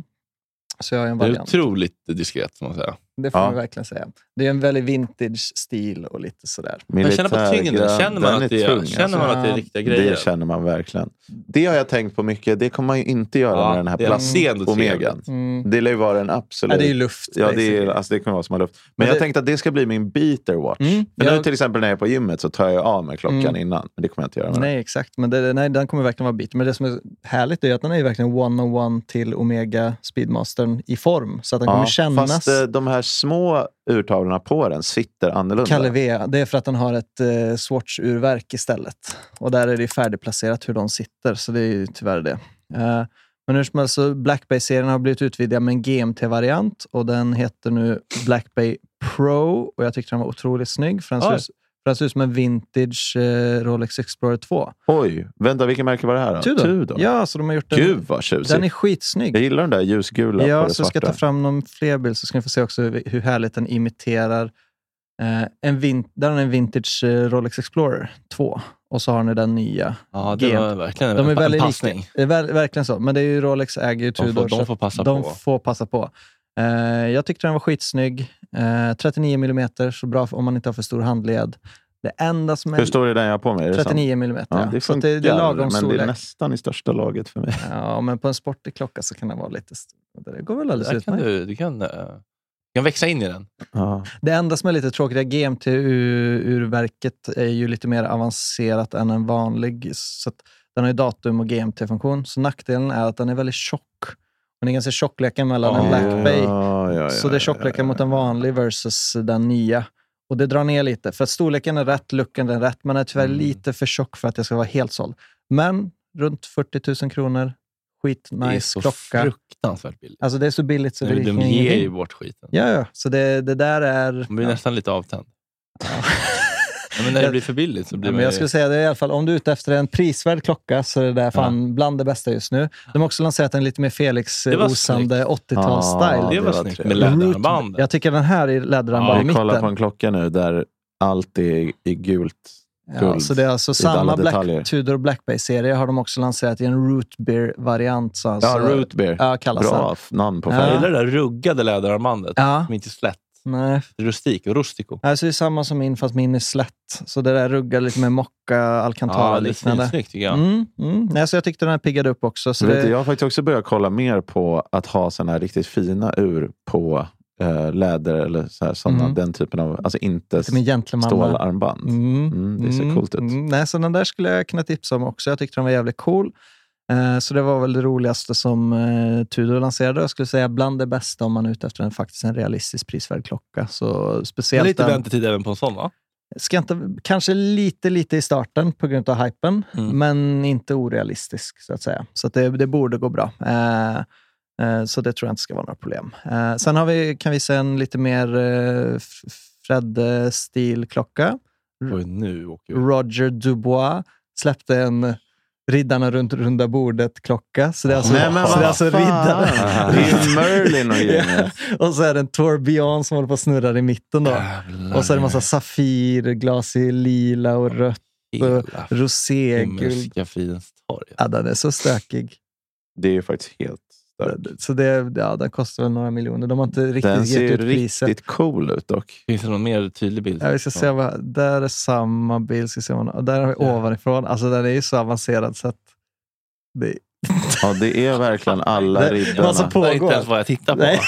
B: Så jag har en
C: Det är
B: variant.
C: otroligt diskret, får man säga.
B: Det får
D: Ja.
B: man verkligen säga. Det är en väldigt vintage-stil och lite sådär.
C: Men känner på tyngden.
D: Militärgrön,
C: Känner
D: den
C: man, att det är,
D: tung,
C: känner man
D: alltså.
C: att det är riktiga grejer?
D: Det känner man verkligen. Det har jag tänkt på mycket. Det kommer man ju inte göra
C: Ja,
D: med den här
C: det är- det är ändå
D: plast-omegan.
C: trevligt.
B: Mm.
D: Det lär ju vara en absolut...
B: Ja, det är ju luft.
D: Ja, det, är,
B: basically.
D: alltså det kommer vara som har luft. Men,
B: Men
D: jag
B: det-
D: tänkte att det ska bli min beater watch.
B: Mm,
D: För nu
B: jag-
D: till exempel när jag är på gymmet så tar jag av mig klockan
B: Mm.
D: innan. Men det kommer jag inte göra med den.
B: Nej, exakt. Men det, nej, den kommer verkligen vara bit. Men det som är härligt är att den är ju verkligen one-on-one till Omega Speedmastern i form. Så att den kommer kännas...
D: Fast eh, de här små urtavlorna på den sitter annorlunda.
B: Kalle V, det är för att den har ett eh, Swatch-urverk istället. Och där är det ju färdigplacerat hur de sitter, så det är ju tyvärr det. Eh, men hur som helst, så Black Bay-serien har blivit utvidgad med en GMT-variant och den heter nu Black Bay Pro. Och jag tyckte den var otroligt snygg, för den ser
C: Oj.
B: ut- för den ser ut som en vintage eh, Rolex Explorer 2.
D: Oj, vänta vilken märke var det här då?
B: Tudor. Ja, så de har gjort en...
D: Gud vad tjusigt.
B: den är skitsnygg.
D: Jag gillar den där ljusgula på
B: Ja,
D: det
B: så jag ska
D: svarta.
B: ta fram någon fler bild så ska ni få se också hur, hur härligt den imiterar. Eh, en vin- där har ni en vintage eh, Rolex Explorer 2 och så har ni den nya.
C: Ja, det var verkligen
B: De är
C: en
B: väldigt
C: passning.
B: lika. Det är Ver- verkligen så. Men det är ju Rolex äger ju
C: får-
B: Tudor.
C: de
B: så att
C: får passa
B: de
C: på.
B: får passa på. Eh, jag tyckte den var skitsnygg. Eh, 39 millimeter så bra om man inte har för stor handled. Det enda som är...
D: Hur stor är den jag har på mig? Är det sant?
B: 39 millimeter.
D: Ja, det
B: så att
D: funkar,
B: det, det är lagom
D: men det är
B: storlek.
D: nästan i största laget för mig.
B: Ja, men på en sportig klocka så kan den vara lite... st- Det går väl alldeles
C: Där
B: utmärkt.
C: kan du, du, kan, eh, du kan växa in i den.
D: Ja.
B: Det enda som är lite tråkigt är att GMT-urverket är ju lite mer avancerat än en vanlig. Så att den har ju datum och GMT-funktion. Så nackdelen är att den är väldigt tjock. Den är ganska tjockleken mellan en
C: Ja,
B: Black Bay.
D: Ja, ja, ja,
B: så det är tjockleken mot en vanlig versus den nya. Och det drar ner lite. För att storleken är rätt, looken är rätt. Men den är tyvärr
C: Mm.
B: lite för tjock för att jag ska vara helt såld. Men runt 40 000 kronor.
C: Det är
B: Skitnice
C: så
B: klocka.
C: fruktansvärt billigt.
B: Alltså det är så billigt så
C: Nej,
B: det
C: men
B: är
C: de ger ju
B: ingenting.
C: bort skiten.
B: Ja, ja. Så det, det där är...
C: Man blir
B: ja.
C: nästan lite avtänd. Ja, men när det blir för billigt så blir
B: Ja,
C: man
B: men jag
C: ju-
B: skulle säga det i alla fall, om du är ute efter en prisvärd klocka så är det där fan bland det bästa just nu. De har också lanserat en lite mer eh,
C: Det var
B: Felix-osande
C: snyggt. det,
D: Ja,
B: 80-talsstyle.
D: det
C: var
D: var
C: snyggt med
D: trevligt.
C: läderarmband.
B: jag tycker den här är läderarmband
C: Ja,
B: i
D: Vi kollar på en
B: mitten.
D: klocka nu där allt är i gult.
B: Ja,
D: guld
B: så det är alltså
D: i alla
B: samma
D: detaljer.
B: Black, Tudor och Black Bay-serie har de också lanserat i en Root Beer-variant. så Alltså,
D: ja, root beer.
B: Ja, kallas den.
D: Bra f- namn på
B: Ja.
D: färgen.
C: Jag gillar det där ruggade läderarmbandet.
B: Ja.
C: Som inte är slätt.
B: Nej.
C: Rustik och rustico.
B: Alltså det är samma som min, fast min är slätt. Så det där ruggar lite med mocka,
C: det är
B: alcantara-liknande.
C: svinsnyggt tycker jag.
B: mm, mm. Nej, så jag tyckte den här piggade upp också. Så
D: Vet
B: det,
D: du, jag har faktiskt också börjat kolla mer på att ha såna här riktigt fina ur på eh, läder eller så här, såna,
B: Mm.
D: den typen av, alltså inte
B: Lite mer gentleman.
D: stålarmband.
B: Mm,
D: Mm, det ser coolt ut.
B: mm. Nej, så den där skulle jag kunna tipsa om också. Jag tyckte den var jävligt cool. Eh, Så det var väl det roligaste som eh, Tudor lanserade. Jag skulle säga bland det bästa om man är ute efter en, faktiskt en realistisk prisvärd klocka. Så
C: Men
B: speciellt
C: lite
B: den,
C: väntetid även på en sån va?
B: ska inte, kanske lite, lite i starten på grund av hypen,
C: Mm.
B: men inte orealistisk så att säga. Så att det, det borde gå bra. Eh, eh, så det tror jag inte ska vara några problem. Eh, sen har vi, kan vi se en lite mer eh, Fred-stil-klocka. Mm.
C: Oj, nu åker vi.
B: Roger Dubois släppte en Riddarna runt runda bordet-klocka. Så det är alltså,
D: Nej, men
B: så
D: vad
B: det är alltså
D: fan!
B: riddarna.
D: Det är ju Merlin och
B: Ja.
D: gänget.
B: Och så är det en tourbillon som håller på och snurrar i mitten. Då.
C: Jävlar.
B: Och så är det massa safirglas i lila och rött och
C: Hela
B: roséguld.
C: Himmelska fridens torg.
B: Ja, den är så stökig.
D: Det är ju faktiskt helt stört.
B: Så det, ja, den kostar väl några miljoner. De har inte riktigt
D: Den
B: gett
D: ser
B: ut priset.
D: riktigt cool ut dock.
C: Finns det någon mer tydlig bild?
B: Ja, vi ska se vad, där är samma bild. Ska se vad, och där har vi
C: Ja.
B: ovanifrån. Alltså, den är ju så avancerad så att det,
D: Ja, det är verkligen alla
B: Det-
D: ribbarna.
B: alltså på-
C: Det är inte
B: pågår.
C: ens vad jag tittar på.
B: Nej.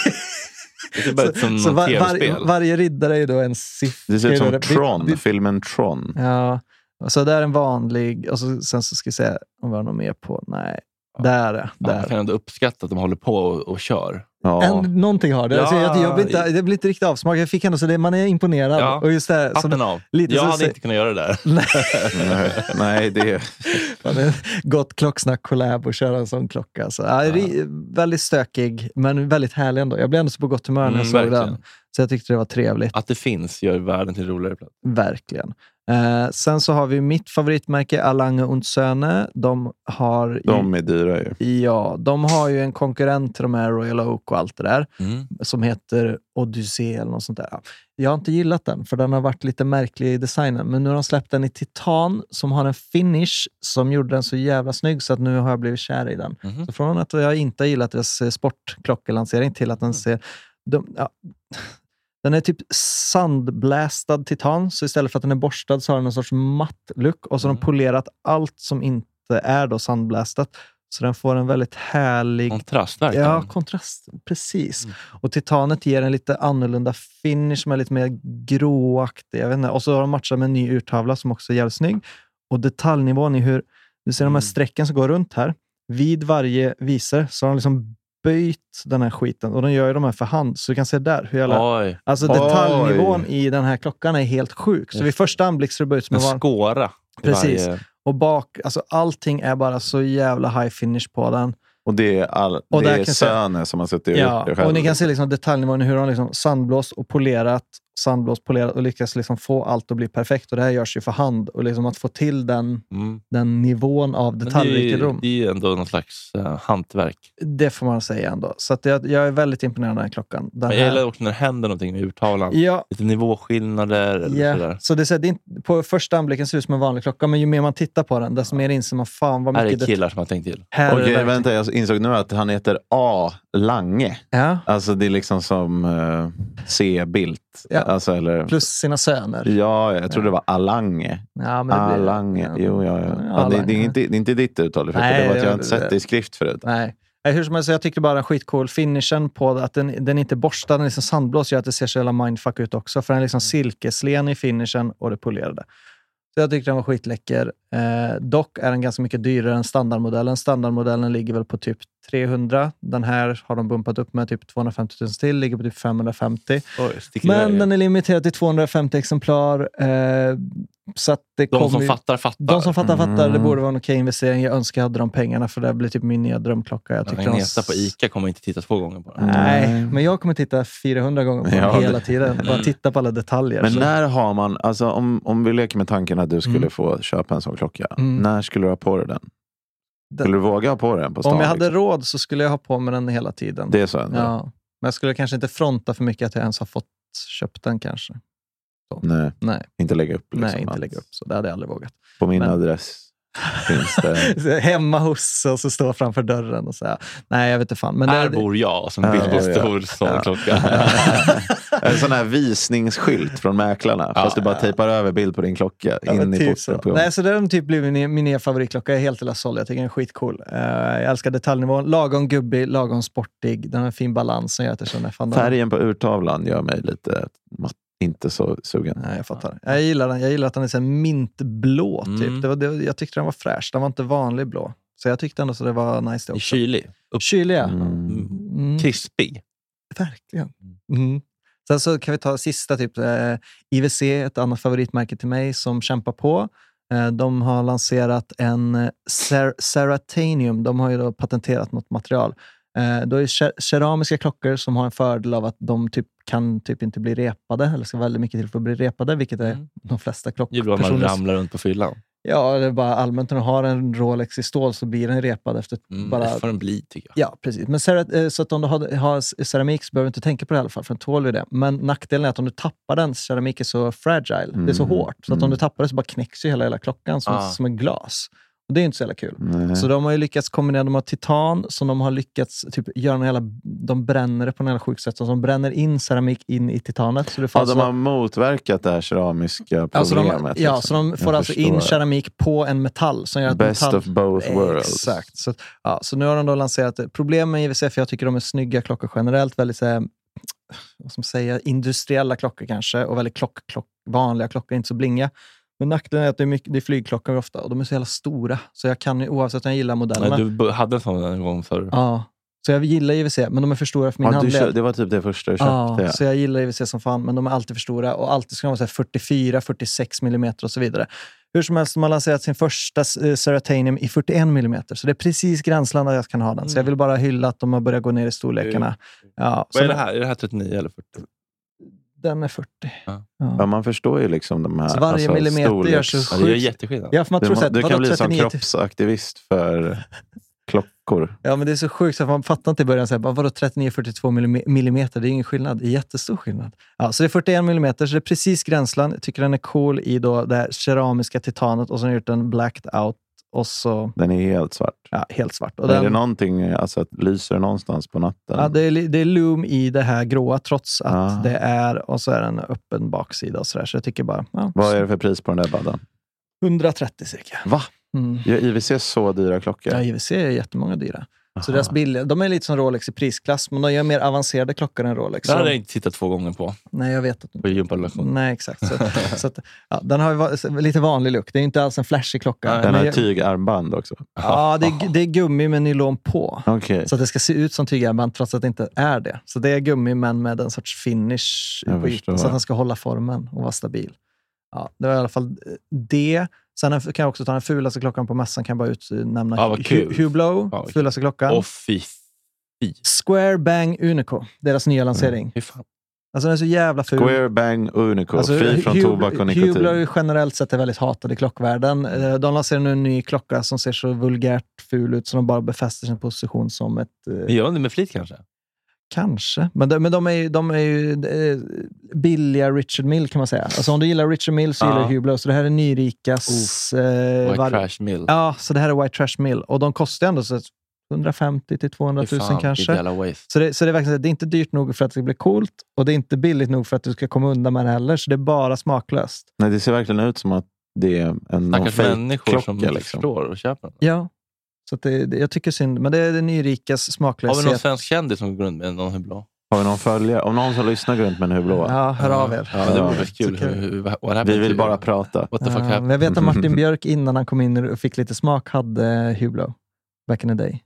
C: Det ser bara ut som
B: så
C: något
B: var,
C: tv-spel.
B: var, varje riddare är ju då en siffra.
D: Det ser ut som
B: Det-
D: Tron,
B: det-
D: filmen Tron.
B: Ja, och så där är en vanlig. Och så, sen så ska vi se om vi har något mer på. Nej, där är
C: Ja, Man
B: där.
C: kan ändå uppskatta att de håller på och, och kör.
D: Ja.
B: En, någonting har det.
C: Ja.
B: Alltså, jag, jag, blir inte, jag blir inte riktigt avsmakad. Jag fick ändå så det, man är imponerad.
C: Ja.
B: Och just det här, som,
C: Hatten av.
B: lite
C: jag
B: så
C: hade
B: se-
C: inte kunnat göra det där.
B: nej,
D: Nej, Nej, det är...
B: fan, ett gott klocksnack collab och köra en sån klocka. Så, ja, det är väldigt stökig, men väldigt härlig ändå. Jag blev ändå så på gott humör när jag
C: Mm,
B: såg
C: verkligen.
B: den. Så jag tyckte det var trevligt.
C: Att det finns gör världen till en roligare plats.
B: Verkligen. Eh, sen så har vi mitt favoritmärke Alange und Söhne. De har,
D: De är dyra ju.
B: ju, ja, de har ju en konkurrent till de här Royal Oak och allt det där som heter Odyssey eller något sånt där. Ja, Jag har inte gillat den, för den har varit lite märklig i designen. Men nu har de släppt den i titan som har en finish som gjorde den så jävla snygg så att nu har jag blivit kär i den.
C: Mhm.
B: Så från att jag inte har gillat deras eh, sportklockelansering till
C: Mm.
B: att den ser... De, ja, den är typ sandblästad titan, så istället för att den är borstad så har den en sorts matt look. Och så har de
C: Mm.
B: polerat allt som inte är då sandblästat. Så den får en väldigt härlig
C: Kontrastverkan.
B: Ja, kontrast. Precis.
C: Mm.
B: Och titanet ger en lite annorlunda finish som är lite mer gråaktig. Jag vet inte. Och så har de matchat med en ny urtavla som också är jävligt snygg. Och detaljnivån i hur... Du ser de här
C: Mm.
B: strecken som går runt här. Vid varje visor så har de liksom böjt den här skiten. Och de gör ju de här för hand. Så du kan se där hur jävla...
C: Oj,
B: Alltså
D: Oj.
B: detaljnivån i den här klockan är helt sjuk. Så
C: Just
B: vid första anblick ser det bara ut som
C: en
B: en van...
C: skåra. i
B: Precis.
C: varje-
B: Och bak, alltså allting är bara så jävla high finish på den.
D: Och det är, all,
B: Och
D: det
B: där
D: är
B: kan jag säga-
D: Söne som har suttit och gjort det
B: Ja,
D: själv.
B: och ni kan se liksom detaljnivån i hur de har liksom sandblåst och polerat, sandblåst, polerat och lyckas liksom få allt att bli perfekt. Och det här görs ju för hand. Och liksom att få till den,
C: Mm.
B: den nivån av
C: Men Det är,
B: detaljrikedom,
C: ju, det är ju ändå någon slags uh, hantverk.
B: det, får man säga ändå. Så att jag, jag är väldigt imponerad av den här klockan. Den
C: Men jag gillar
B: här,
C: också när det händer någonting med urtavlan.
B: ja,
C: Lite nivåskillnader eller
B: ja.
C: sådär.
B: Så det, är så här, det är inte, på första anblicken ser det ut som en vanlig klocka, men ju mer man tittar på den, desto mer inser man fan vad
C: Här är
B: mycket... det-
C: killar som har tänkt till.
B: här är det
D: Okej,
B: verkligen-
D: vänta. Jag insåg nu att han heter A. Lange.
B: Ja,
D: Alltså det är liksom som eh, C. Bildt.
B: Ja.
D: Alltså, eller,
B: plus sina söner.
D: ja, jag trodde det var Alange.
B: Ja, men det blir-
D: Alange. Jo, ja, ja. ja, det, det, är
B: Alange.
D: inte, det är inte ditt uttal. för
B: Nej,
D: det var att
B: det-
D: jag har inte sett det i skrift förut.
B: Nej. Nej, Hur som helst, jag tyckte bara den skitcool. Finishen på det, att den, den är inte borstad, den är liksom sandblås, gör att det ser så jävla mindfuck ut också. För den är liksom silkeslen i finishen och det polerade. Så jag tyckte den var skitläcker. Eh, dock är den ganska mycket dyrare än standardmodellen. Standardmodellen ligger väl på typ 300. Den här har de bumpat upp med typ 250 000 till, ligger på typ 550.
C: Oj, sticker
B: Men
C: iväg.
B: den är limiterad till 250 exemplar. Eh, så att det
C: de
B: kommer
C: som
B: ju-
C: fattar, fattar.
B: de som fattar fattar. Det
D: Mm.
B: borde vara en okej investering. Jag önskar jag hade de pengarna för det här blir typ min nya drömklocka. Jag tyckte de...
C: Agneta på ICA kommer inte titta två gånger på den.
B: Nej, men jag kommer titta 400 gånger på den
D: Ja,
B: hela
D: det- Mm.
B: tiden. Bara titta på alla detaljer.
D: Men
B: Så-
D: när har man, alltså om, om vi leker med tanken att du skulle
B: Mm.
D: få köpa en sån klocka.
B: Mm.
D: När skulle du ha på dig den? Skulle du våga ha på dig den på stan?
B: Om jag hade
D: liksom?
B: råd så skulle jag ha på mig den hela tiden.
D: Det är så ändå?
B: ja. Men jag skulle kanske inte fronta för mycket att jag ens har fått köpt den kanske.
D: Nej,
B: Nej,
D: inte lägga upp. Liksom,
B: nej inte
D: att-
B: lägga upp så. Det hade jag aldrig vågat.
D: På min
B: Men-
D: adress. Finns det.
B: Hemma hos och så stå framför dörren och säga nej, jag vet inte fan. Men
C: Här
B: det-
C: bor jag, och så en bild
D: Ja,
C: på
D: ja,
C: en
D: ja.
C: stor stålklocka.
D: En sån här visningsskylt från mäklarna. fast du bara tejpar över bild på din klocka.
B: Ja, men
D: in i
B: typ
D: porten
B: så.
D: på
B: Nej, så det är typ blivit min, min nya favoritklocka. Jag är helt och såld. Jag tycker den är skitcool. Eh, jag älskar detaljnivån. Lagom gubbig, lagom sportig. Den har en fin balans som gör att jag känner fan den-
D: Färgen på urtavlan gör mig lite ma- inte så sugen.
B: Nej, jag fattar. Jag gillar den. Jag gillar att den är så här mintblå. Typ.
C: Mm.
B: Det var, det, jag tyckte den var fräsch. Den var inte vanlig blå. Så jag tyckte ändå så det var nice det också.
C: Kylig. Upp.
B: Kylig, ja.
D: Mm.
B: Mm,
C: Krispig.
B: verkligen. Mm. Sen så kan vi ta sista. Typ, eh, IWC, ett annat favoritmärke till mig, som kämpar på. Eh, de har lanserat en eh, cer- ceratanium. De har ju då patenterat något material. Eh, då är det ke- keramiska klockor som har en fördel av att de typ kan typ inte bli repade, eller ska väldigt mycket till för att bli repade, vilket är
C: Mm.
B: de flesta
C: Det är bra om man
B: klockpersoner.
C: ramlar runt på fyllan.
B: Ja, eller bara allmänt när du har en Rolex i stål så blir den repad efter
C: Mm,
B: bara...
C: Det får den bli, tycker jag.
B: Ja, precis. Men cera- eh, så att om du har, har c- keramik så behöver du inte tänka på det i alla fall, för den tål ju det. Men nackdelen är att om du tappar den, keramik är så fragile, det är så
D: Mm.
B: hårt. Så att om
D: Mm.
B: du tappar det så bara knäcks ju hela, hela klockan som,
C: Ah.
B: som en glas. Och det är ju inte så jävla kul.
D: Nej.
B: Så de har ju lyckats kombinera, de har titan som de har lyckats typ, göra någon jävla, de bränner det på något jävla sjukt sätt. Så de bränner in keramik in i titanet. Så det
D: Ja,
B: får
D: de har motverkat det här keramiska
B: Alltså de,
D: problemet.
B: Alltså- ja,
D: liksom.
B: så de
D: Jag
B: får alltså in
D: förstår.
B: keramik på en metall som gör att
D: Best
B: metall...
D: of both worlds.
B: Exakt. Så, att- ja, så nu har de då lanserat det. Problem med IWC, för jag tycker de är snygga klockor generellt. Väldigt så här, vad ska man säga, industriella klockor kanske och väldigt klock, klock, vanliga klockor, inte så blinga. Men nackdelen är att det är, mycket, det är flygklockor ofta och de är så jävla stora. Så jag kan ju, oavsett om jag gillar modellerna.
C: Nej, Du b- hade en sån en gång förr.
B: Ja. Så jag gillar IWC, men de är för stora för min
D: Ja, du
B: handled.
D: kö- det var typ det första du köpte.
B: Ja,
D: ja.
B: så jag gillar IWC som fan, men de är alltid för stora. Och alltid ska de vara så här 44, 46 millimeter och så vidare. Hur som helst, de har lanserat sin första eh, Ceratanium i 41 millimeter. Så det är precis gränslandet jag kan ha den. Så jag vill bara hylla att de har börjat gå ner i storlekarna. Ja,
C: Vad
B: så
C: är det här? Är det här 39 eller 40?
B: Den är 40.
C: Ja.
D: Ja,
B: Ja.
D: man förstår ju liksom de här
B: Så varje
D: alltså,
B: millimeter
D: storleks-
B: gör så
C: Ja, det gör
B: sjukt.
C: jätteskillnad.
B: Ja, för man
D: Du,
B: tror så
D: må-
B: här,
D: du kan
B: vadå,
D: bli som
B: 39 till-
D: kroppsaktivist för klockor.
B: Ja, men det är så sjukt. Så att man fattar inte i början. Så här, bara, vadå 39-42 millime- millimeter? Det är ingen skillnad. Det är jättestor skillnad. Ja, så det är 41 millimeter, så det är precis gränsland. Jag tycker den är cool i då det här keramiska titanet och sen har jag gjort den blacked out och så
D: Den är helt svart.
B: ja, helt svart. Och
D: Är
B: den,
D: det någonting, alltså att lyser det någonstans på natten?
B: ja, det, är, li- det är loom i det här gråa trots att
D: Ah.
B: det är och så är den öppen baksida och så där. Så jag tycker bara ja,
D: Vad är det för pris på den där baddan?
B: 130 cirka.
D: Va?
B: Mm.
D: Gör IWC så dyra klockor?
B: Ja, IWC är jättemånga dyra. Så
D: Aha.
B: deras billiga, de är lite som Rolex i prisklass, men de gör mer avancerade klockor än Rolex.
C: Det hade
B: Så-
C: jag inte tittat två gånger på,
B: Nej, jag vet att
C: på gymparelation.
B: Nej, exakt. Så, så att, ja, den har ju va- så- lite vanlig look. Det är inte alls en flashig klocka.
C: Nej. typ-
D: Den
B: Men
D: har
B: jag-
D: tygarmband också.
B: Ja, det är, gu- det är gummi med nylon på.
D: Okej.
B: Så att det ska se ut som tygarmband trots att det inte är det. Så det är gummi men med en sorts finish
D: Jag
B: på
D: förstår.
B: ytan, så att den ska hålla formen och vara stabil. Ja, det var i alla fall eh, det. Sen en- kan jag också ta den fulaste klockan på mässan, kan jag bara utnämna
C: Ja, vad
B: Hu-
C: kul.
B: Hublot,
C: Ja, vad kul.
B: fulaste klockan.
C: Åh fy.
B: Square Bang Unico, deras nya lansering.
C: Fy fan.
B: Alltså den är så jävla ful.
D: Square Bang Unico,
B: Alltså,
D: fri från
B: Hubl-
D: tobak och nikotin.
B: Hublot är ju generellt sett är väldigt hatad i klockvärlden. Eh, De lanserar nu en ny klocka som ser så vulgärt ful ut så de bara befäster sin position som ett... eh,
C: Men Gör de det med flit kanske?
B: Kanske. Men de, men de är ju, de är ju eh, billiga Richard Mill kan man säga. Alltså om du gillar Richard Mill så gillar
C: Ja.
B: du Hublot. Så det här är nyrikas... Eh,
C: White
B: var-
C: Trash Mill.
B: Ja, så det här är White Trash Mill. Och de kostar ju ändå så 150 till 200
C: Fy
B: 000
C: fan,
B: kanske.
C: Ideella waste.
B: Så det, så det är verkligen så här, det är inte dyrt nog för att det ska bli coolt och det är inte billigt nog för att du ska komma undan med det heller. Så det är bara smaklöst.
D: Nej, det ser verkligen ut som att det är en någon
C: Stackars
D: fake.
C: människor som
D: klocka,
C: inte
D: liksom.
C: förstår och köper den.
B: Ja. Så att det, det, jag tycker synd, men det är det nyrikas
C: Har vi någon
B: smaklöshet.
C: svensk kändis som går runt med någon Hublot?
D: Har vi någon följare? Om någon som lyssnar går runt med en hublå.
B: Ja, hör av er.
C: Ja, det vore
B: Så
C: kul.
B: kul.
C: Hur- hur- what happened
D: Vi vill
C: to-
D: bara prata.
C: What the fuck
B: Ja,
C: happened?
B: men jag vet att Martin Björk innan han kom in och fick lite smak hade Hublot back in the day.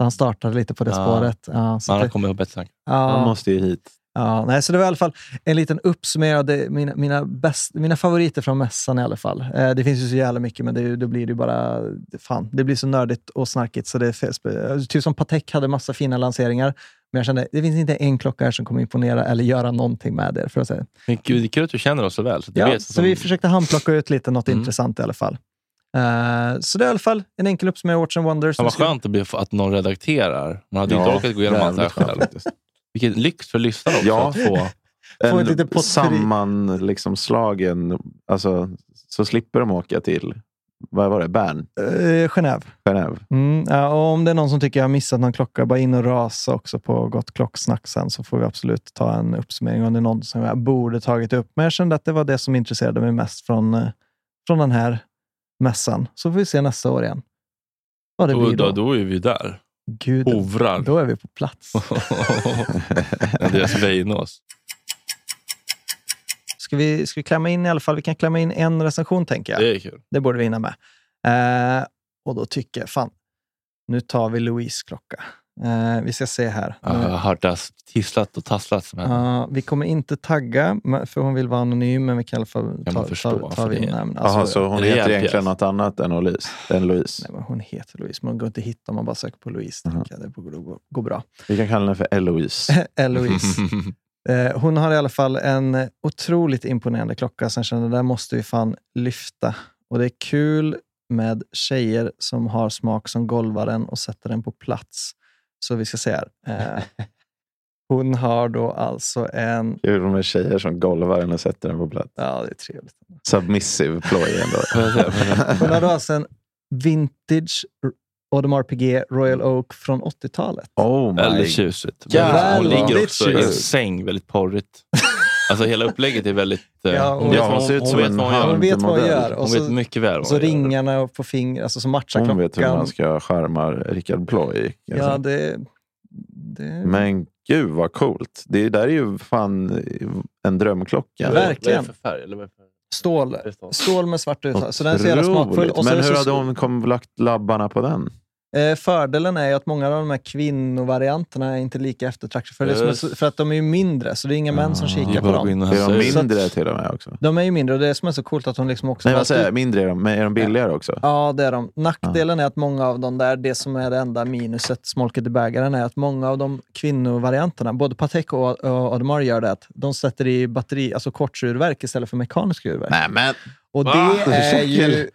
B: Så han startade lite på det
C: Ja.
B: spåret. Ja, så
C: Man har
B: det,
C: kommit på bättre tankar.
D: Han
B: ja,
D: måste ju hit.
B: ja, nej, så det var i alla fall en liten uppsummering av det- mina, mina, bäst, mina favoriter från mässan i alla fall. Eh, det finns ju så jävla mycket, men det, är ju- då blir det ju bara... Fan, det blir så nördigt och snarkigt. Så det är fel, typ som Patek hade massa fina lanseringar, men jag kände det finns inte en klocka här som kommer imponera eller göra någonting med det. För att säga.
C: Men gud, det är kul att du känner oss så väl. Så att du
B: Ja,
C: vet
B: så
C: som-
B: vi försökte handplocka ut lite något
C: Mm.
B: intressant i alla fall. Eh, så det är i alla fall en enkel uppsummering av Watch and Wonders.
C: Fan vad
B: Nu ska-
C: skönt det blir att någon redakterar. Man hade inte
D: Ja,
C: orkat gå igenom allt det här
D: jävligt
C: själv.
D: faktiskt.
C: Vilken lyx för lyssnarna också
D: Ja.
C: att få.
B: Få ett litet
D: En
B: potpurri.
D: sammanslagen, liksom, slagen, alltså, så slipper de åka till vad var det? Bern?
B: Eh, Genève.
D: Genève?
B: Mm, ja, och om det är någon som tycker jag har missat någon klocka, bara in och rasa också på Gott klocksnack sen så får vi absolut ta en uppsummering om det är någon som jag borde tagit upp. Men jag kände att det var det som intresserade mig mest från, eh, från den här mässan. Så får vi se nästa år igen. Vad det
C: Då,
B: blir
C: då,
B: då.
C: då är vi där.
B: Gud,
C: Hovrar.
B: då är vi på plats.
C: Andreas Weinås.
B: Ska vi, ska vi klämma in i alla fall? Vi kan klämma in en recension tänker jag.
C: Det är kul.
B: Det borde vi hinna med. Eh, och då tycker jag, fan, nu tar vi Louise klocka. Eh, vi ska se här.
C: Jag
B: Nu-
C: har hört det här tisslat och tasslat. Men
B: Ja, vi kommer inte tagga, men- för hon vill vara anonym, men vi kan i alla fall ta,
C: man förstå,
B: ta, ta,
C: för
B: vi
C: det-
B: namn.
D: Jaha,
B: Alltså,
D: så hon
C: rejäl
D: heter
C: pjäs.
D: egentligen något annat än Louise? Än Louise.
B: nej, men hon heter Louise, men hon går inte att hitta om man bara söker på Louise.
D: Mhm.
B: tänker jag. Det borde gå, gå bra.
D: Vi kan kalla henne för Eloise.
B: Eloise. Eh, hon har i alla fall en otroligt imponerande klocka som jag känner, där måste vi fan lyfta. Och det är kul med tjejer som har smak som golvar den och sätter den på plats. Så vi ska se här. Eh, hon har då alltså en...
D: Kul med tjejer som golvar henne och sätter den på plats.
B: Ja, det är trevligt.
D: Submissive ploj ändå.
B: Hon har då alltså en vintage Audemars Piguet Royal Oak från 80-talet.
D: Oh my
C: Väldigt tjusigt.
D: Jävlar.
C: hon ligger också i en
D: Tjusigt.
C: säng, väldigt porrigt. Alltså hela upplägget är väldigt... eh,
B: Ja,
C: hon
B: hon-
C: vet
B: Ja,
C: vad
D: hon
C: hon,
D: ser ut
C: hon
D: som
C: vet
D: en
C: vad hon gör.
B: Hon vet vad hon
D: modell.
B: gör. Och
C: Hon
B: så,
C: vet mycket väl vad
B: och så
C: hon gör.
B: ringarna och på fingret, alltså som matchar
D: Hon
B: klockan.
D: vet hur man ska charma Rickard Ploy. kan jag
B: Ja,
D: säga.
B: det... det
D: Men gud vad coolt. Det där är ju fan en drömklocka.
B: Verkligen.
C: Vad är det för färg? Eller vad är det för-
B: stål. Stål med svart uttag. Så den är så jävla
D: Otroligt.
B: smakfull. Och så är
D: Men
B: det
D: hur
B: så,
D: hade hon kom, lagt labbarna på den?
B: eh, fördelen är ju att många av de här kvinnovarianterna är inte lika eftertraktade. För, det är som-
C: Just.
B: för att de är ju mindre, så det är inga män som
C: Det
B: kikar
C: är
B: på
C: bara att gå
B: dem.
C: in och
D: Ah. Är
C: hälsa
D: de
C: ut.
B: så att-
D: mindre till och med också?
B: De är ju mindre och det är som är så coolt att hon liksom också...
D: Nej,
B: har
D: vad säger
B: alltid-
D: jag? Mindre är de, men är de billigare också?
B: Ja, det är de. Nackdelen är att många av dem där, det som är det enda minuset, smolket i bägaren, är att många av de kvinnovarianterna, både Patek och, och Audemars gör det, att de sätter i batteri, alltså kortsurverk istället för mekanisk urverk.
D: Nej, men
B: Och det
D: Va?
B: är ju...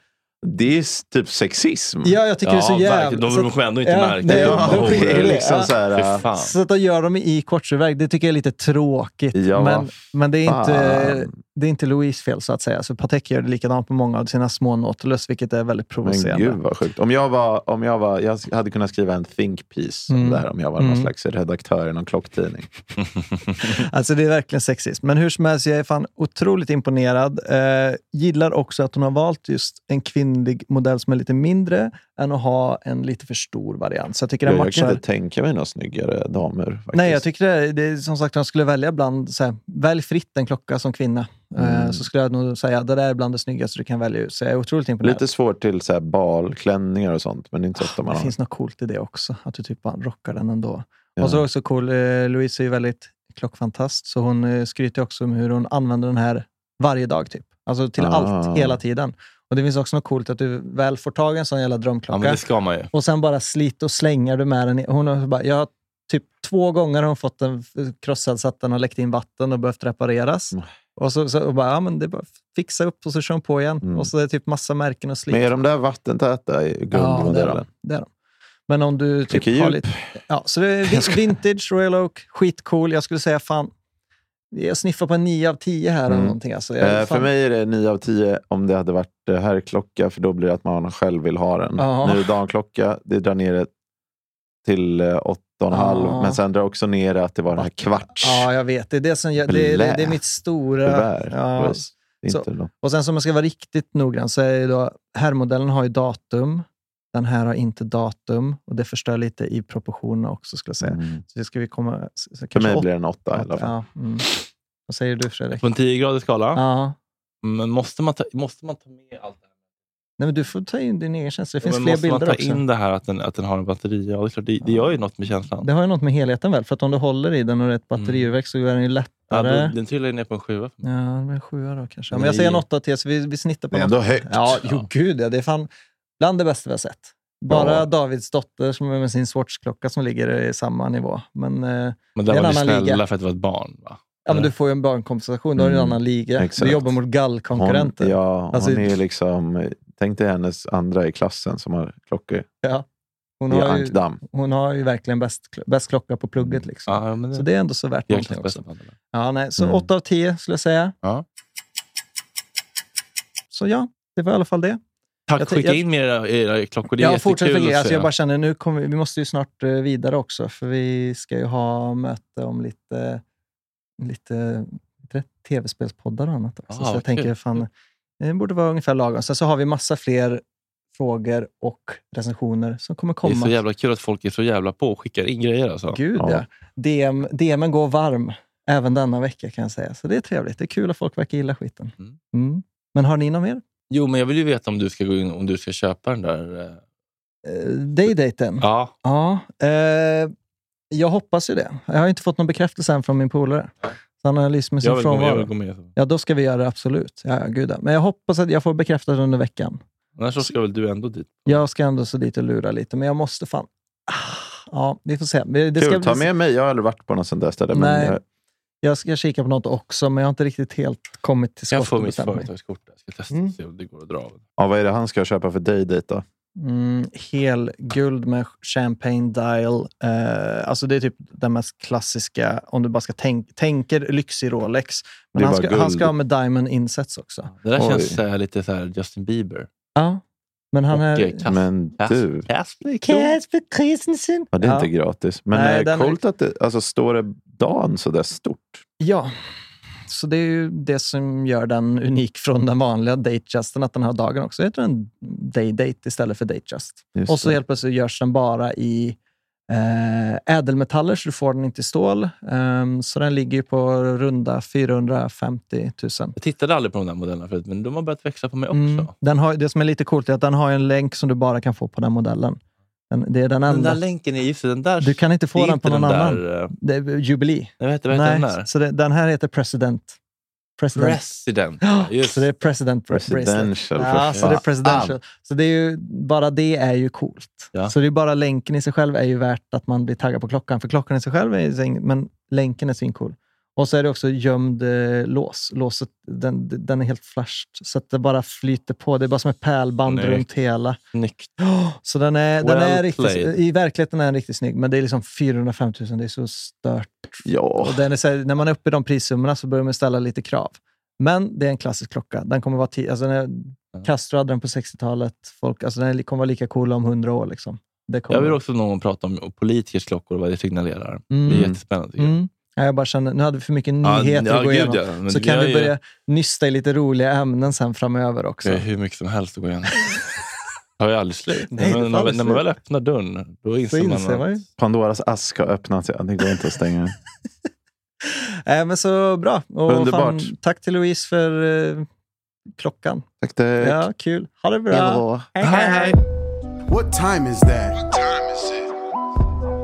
D: det är s- typ sexism.
B: Ja, jag tycker det är så
C: Ja, verkligen.
B: jävla...
C: Då
B: Så,
C: får de ändå inte
B: Ja,
C: märka
B: nej, de
C: det.
D: Ja,
C: Bara,
D: det
B: skiter
D: är
C: "Åh,
B: i
D: liksom
B: Ja.
D: så här...
C: Fy
D: äh,
C: fan.
B: så att de gör dem i kortsurverk, det tycker jag är lite tråkigt.
D: Ja,
B: men, men det är inte...
D: fan.
B: Det är inte Louise fel, så att säga. Så Patek gör det likadant på många av sina små Nautilus, vilket är väldigt
D: Men
B: provocerande.
D: gud vad sjukt. Om jag, var, om jag, var, jag hade kunnat skriva en think piece
B: Mm.
D: om det här om jag var någon
B: Mm.
D: slags redaktör i någon klocktidning.
B: Alltså det är verkligen sexism. Men hur som helst, jag är fan otroligt imponerad. Eh, gillar också att hon har valt just en kvinnlig modell som är lite mindre än att ha en lite för stor variant. Så jag tycker den
D: Jag, jag kan
B: matchar.
D: inte tänka mig några snyggare damer. Faktiskt.
B: Nej, jag tycker det, det är som sagt, om jag skulle välja bland, så här, välj fritt en klocka som kvinna. Eh,
D: Mm.
B: Så skulle jag nog säga, det där är bland det snyggaste du kan välja ut. Så jag är otroligt imponerad.
D: Lite svårt till så här balklänningar och sånt, men det är inte så ofta man
B: Ah, det
D: har.
B: finns något coolt i det också, att du typ bara rockar den ändå.
D: Ja.
B: Och så är det också cool, eh, Louise är ju väldigt klockfantast, så hon eh, skryter också om hur hon använder den här varje dag. typ. Alltså till
D: Ah.
B: allt, hela tiden. Och Det finns också något coolt att du väl får tag i en sån jävla
C: Ja,
B: drömklocka
C: men det ska man ju.
B: och sen bara slit och slänger du med den. i- Hon har bara, jag har typ två gånger har hon fått den f- krossad så att den har läckt in vatten och behövt repareras.
D: Mm.
B: Och så, så och bara, ja, men det är bara att fixa upp och så kör hon på igen.
D: Mm.
B: Och så är det typ massa märken och slit.
D: Men är de där vattentäta i
B: Ja, det är
D: guldmodellen?
B: de. Det är de. Men om du typ
D: Mycket
B: har
D: djup.
B: lite... Ja, så det är vin- vintage, Royal Oak, skitcool. Jag skulle säga fan... Jag sniffar på en 9 av 10 här eller
D: Mm.
B: någonting. Alltså, jag,
D: Eh,
B: fan,
D: för mig är det 9 av 10 om det hade varit eh, herrklocka, för då blir det att man själv vill ha den.
B: Ja.
D: Nu är det damklocka, det drar ner det till eh, 8,5,
B: Ja.
D: men sen drar också ner det att det var den här kvarts.
B: Ja, jag vet. Det är det som jag, det, det, det är mitt stora...
D: Tyvärr,
B: Ja.
D: Louise. Det är
B: Så-
D: inte något.
B: Och sen som jag ska vara riktigt noggrann så är ju då... Herrmodellen har ju datum. Den här har inte datum. Och det förstör lite i proportionerna också, skulle jag säga.
D: Mm.
B: Så det ska vi komma... Så, så
D: För mig
B: eh, åt-
D: blir det en 8 i alla fall.
B: Ja, mm. Vad säger du, Fredrik?
C: På en 10-gradig skala.
B: Ja.
C: Men måste man, ta, måste man ta med allt det här?
B: Nej, men du får ta in din egen känsla. Det
C: Ja,
B: finns
C: men
B: fler
C: måste man
B: bilder
C: ta
B: också.
C: in det här att den, att den har en batteri? Ja, det, är klart, det, det gör ju något med känslan.
B: Det har ju något med helheten väl? För att om du håller i den och det är ett batteriurverk så är den ju
C: Ja,
B: lättare.
C: då,
B: Ja,
C: den trillar ju ner på en sjua. för mig.
B: det blir en sjua då kanske. Ja, men
C: Men
B: jag
C: det-
B: säger en åtta till, så vi, vi snittar på
D: Det är
B: något.
D: ändå högt.
B: Ja, jo gud ja. Det är fan bland det bästa vi har sett. Bara
D: Ja.
B: Davids dotter som är med sin Swatch-klocka som ligger i samma nivå. Men, eh,
C: Men
B: Det
C: där
B: är en
C: var ni
B: annan
C: snälla
B: liga.
C: för att det var ett barn. Va?
B: ja, men du får ju en barnkompensation. Då har du en
D: Mm,
B: annan liga.
D: exakt.
B: Du jobbar mot gallkonkurrenter.
D: Hon, ja,
B: Alltså-
D: hon är liksom... Tänk dig hennes andra i klassen som har klockor
B: Hon,
D: i
B: har ju,
D: ankdamm.
B: hon har ju verkligen bäst, bäst klocka på plugget. Liksom.
C: Ja, ja, men det,
B: Så det är ändå så värt någonting
C: Jäklas
B: också.
C: bästa banden.
B: Ja, nej. Så
D: Mm.
B: 8 av 10 skulle jag säga.
C: Ja.
B: Så ja, det var i alla fall det.
C: Tack,
B: Jag t-
C: skicka
B: jag-
C: in med era, era klockor. Det är
B: Jag fortsätter
C: jättekul
B: med
C: att
B: alltså,
C: se.
B: Jag bara känner nu kommer vi, vi måste ju snart eh, vidare också, för vi ska ju ha möte om lite, lite, lite tv-spelspoddar och annat. Också.
C: Ah,
B: så
C: vad
B: jag tänker
C: kul.
B: fan, det borde vara ungefär lagom. Sen så har vi massa fler frågor och recensioner som kommer
C: Det är
B: komma.
C: så jävla kul att folk är så jävla på och skickar in grejer. Alltså.
B: Gud ja.
D: Ja.
B: DM, DMen går varm även denna vecka kan jag säga. Så det är trevligt. Det är kul att folk verkar gilla skiten.
C: Mm.
B: Mm. Men har ni någon mer?
C: Jo, men jag vill ju veta om du ska gå in om du ska köpa den där... eh,
B: Eh, Daydaten?
C: Ja,
B: Ja, eh, jag hoppas ju det. Jag har inte fått någon bekräftelse än från min polare. Så han har lyst med
C: jag
B: sin
C: vill, gå med, jag vill
B: frånvaro.
C: gå med.
B: Ja, då ska vi göra det, absolut. Ja, ja, gud, ja. Men jag hoppas att jag får bekräftat under veckan.
C: Annars så ska väl du ändå dit?
B: Jag ska ändå så dit och lura lite, men jag måste fan... Ah, Ja, vi får se. Det det ska
D: Kul, ta
B: bli-
D: med mig. Jag har aldrig varit på något sånt där ställe. Men eh,
B: Nej.
D: jag,
B: Jag ska kika på något också, men jag har inte riktigt helt kommit till skott.
C: Jag får
B: och
C: mitt
B: bestämt mig.
C: företagskort. där. Jag ska testa
B: Mm.
C: och se om det går att dra av.
D: ja, vad är det han ska köpa för dig dit då?
B: Mm, hel guld med champagne dial. Eh, alltså det är typ den mest klassiska, om du bara ska tänk, tänker lyxig Rolex. Men
D: Det är
B: han
D: bara
B: ska, han
D: guld.
B: ska ha med diamond insets också.
C: Det där
D: Oj.
C: känns eh, lite så här Justin Bieber.
B: Ja, men han
C: Och,
B: är...
C: eh, Cas-
D: Men
C: Cas-
D: du,
C: Casper.
B: Casper Christensen.
D: ja, det är
B: Ja.
D: inte gratis. Men
B: Nej,
D: eh,
B: den är-
D: coolt att det alltså, står det Dan så där stort.
B: Ja, så det är ju det som gör den unik från den vanliga Datejusten, att den har dagen också. Jag heter den Daydate istället för Datejust.
D: Just
B: Och så
D: det.
B: helt plötsligt görs den bara i eh, ädelmetaller, så du får den inte i stål. Ehm, så den ligger ju på runda 450 000.
C: Jag tittade aldrig på de där modellerna förut, men de har börjat växa på mig också.
B: Mm. Den har, det som är lite coolt är att den har en länk som du bara kan få på den modellen. Den, det är den
C: Den
B: enda.
C: där länken är just det, den där.
B: du kan inte
C: det
B: få
C: är
B: den på
C: inte
B: någon annan.
C: Där, eh,
B: Det är jubilee.
C: nej, vad heter, vad heter den där?
B: så det, den här heter President. President.
C: Resident.
B: Ja,
C: Just.
B: så det är President Bracelet.
D: Presidential.
B: Ja,
D: för
B: så det är
D: fan.
B: presidential. Så det är ju, bara det är ju coolt.
C: Ja.
B: Så det är bara länken i sig själv är ju värt att man blir taggad på klockan. För klockan i sig själv är ju sin- men länken är svincool. Och så är det också gömd eh, lås. Låset, den, den är helt flashed. Så att det bara flyter på. Det är bara som ett pärlband
C: Snyggt.
B: runt hela.
C: Snyggt.
B: Så den är, den
C: Well
B: är riktigt,
C: played.
B: i verkligheten är den riktigt snygg. Men det är liksom 405 000. Det är så stört.
D: Ja.
B: Och den är så här, när man är uppe i de prissummorna så börjar man ställa lite krav. Men det är en klassisk klocka. Den kommer vara ti- alltså när Castro hade den på 60-talet. Folk, alltså den kommer vara lika cool om 100 år. Liksom. Det kommer.
C: Jag vill också någon gång prata om politikers klockor och vad det signalerar. Det är
B: Mm.
C: jättespännande. tycker jag.
B: Mm. Ja, jag bara känner, nu hade vi för mycket
C: Ja,
B: nyheter
C: ja,
B: att gå
C: gud,
B: igenom.
C: ja. Men
B: Så kan
C: jag
B: vi
C: är-
B: börja nysta i lite roliga ämnen sen framöver också.
C: Det är hur mycket som helst att gå igenom. har ju aldrig slut.
B: Nej, det
C: men,
B: tar aldrig
C: när, när man
B: slut.
C: väl öppnar dörren, då
B: Så
C: inser,
B: inser man
C: man
B: ju.
C: att...
D: Pandoras ask har öppnat sig. Ja, Det går inte att stänga.
B: Äh, men så bra. Och
D: Underbart.
B: Fan, tack till Louise för eh, klockan.
D: Tack, tack.
B: Ja, kul. Ha det bra.
D: Ja.
C: Hej, hej!
A: What time is that? What time is it?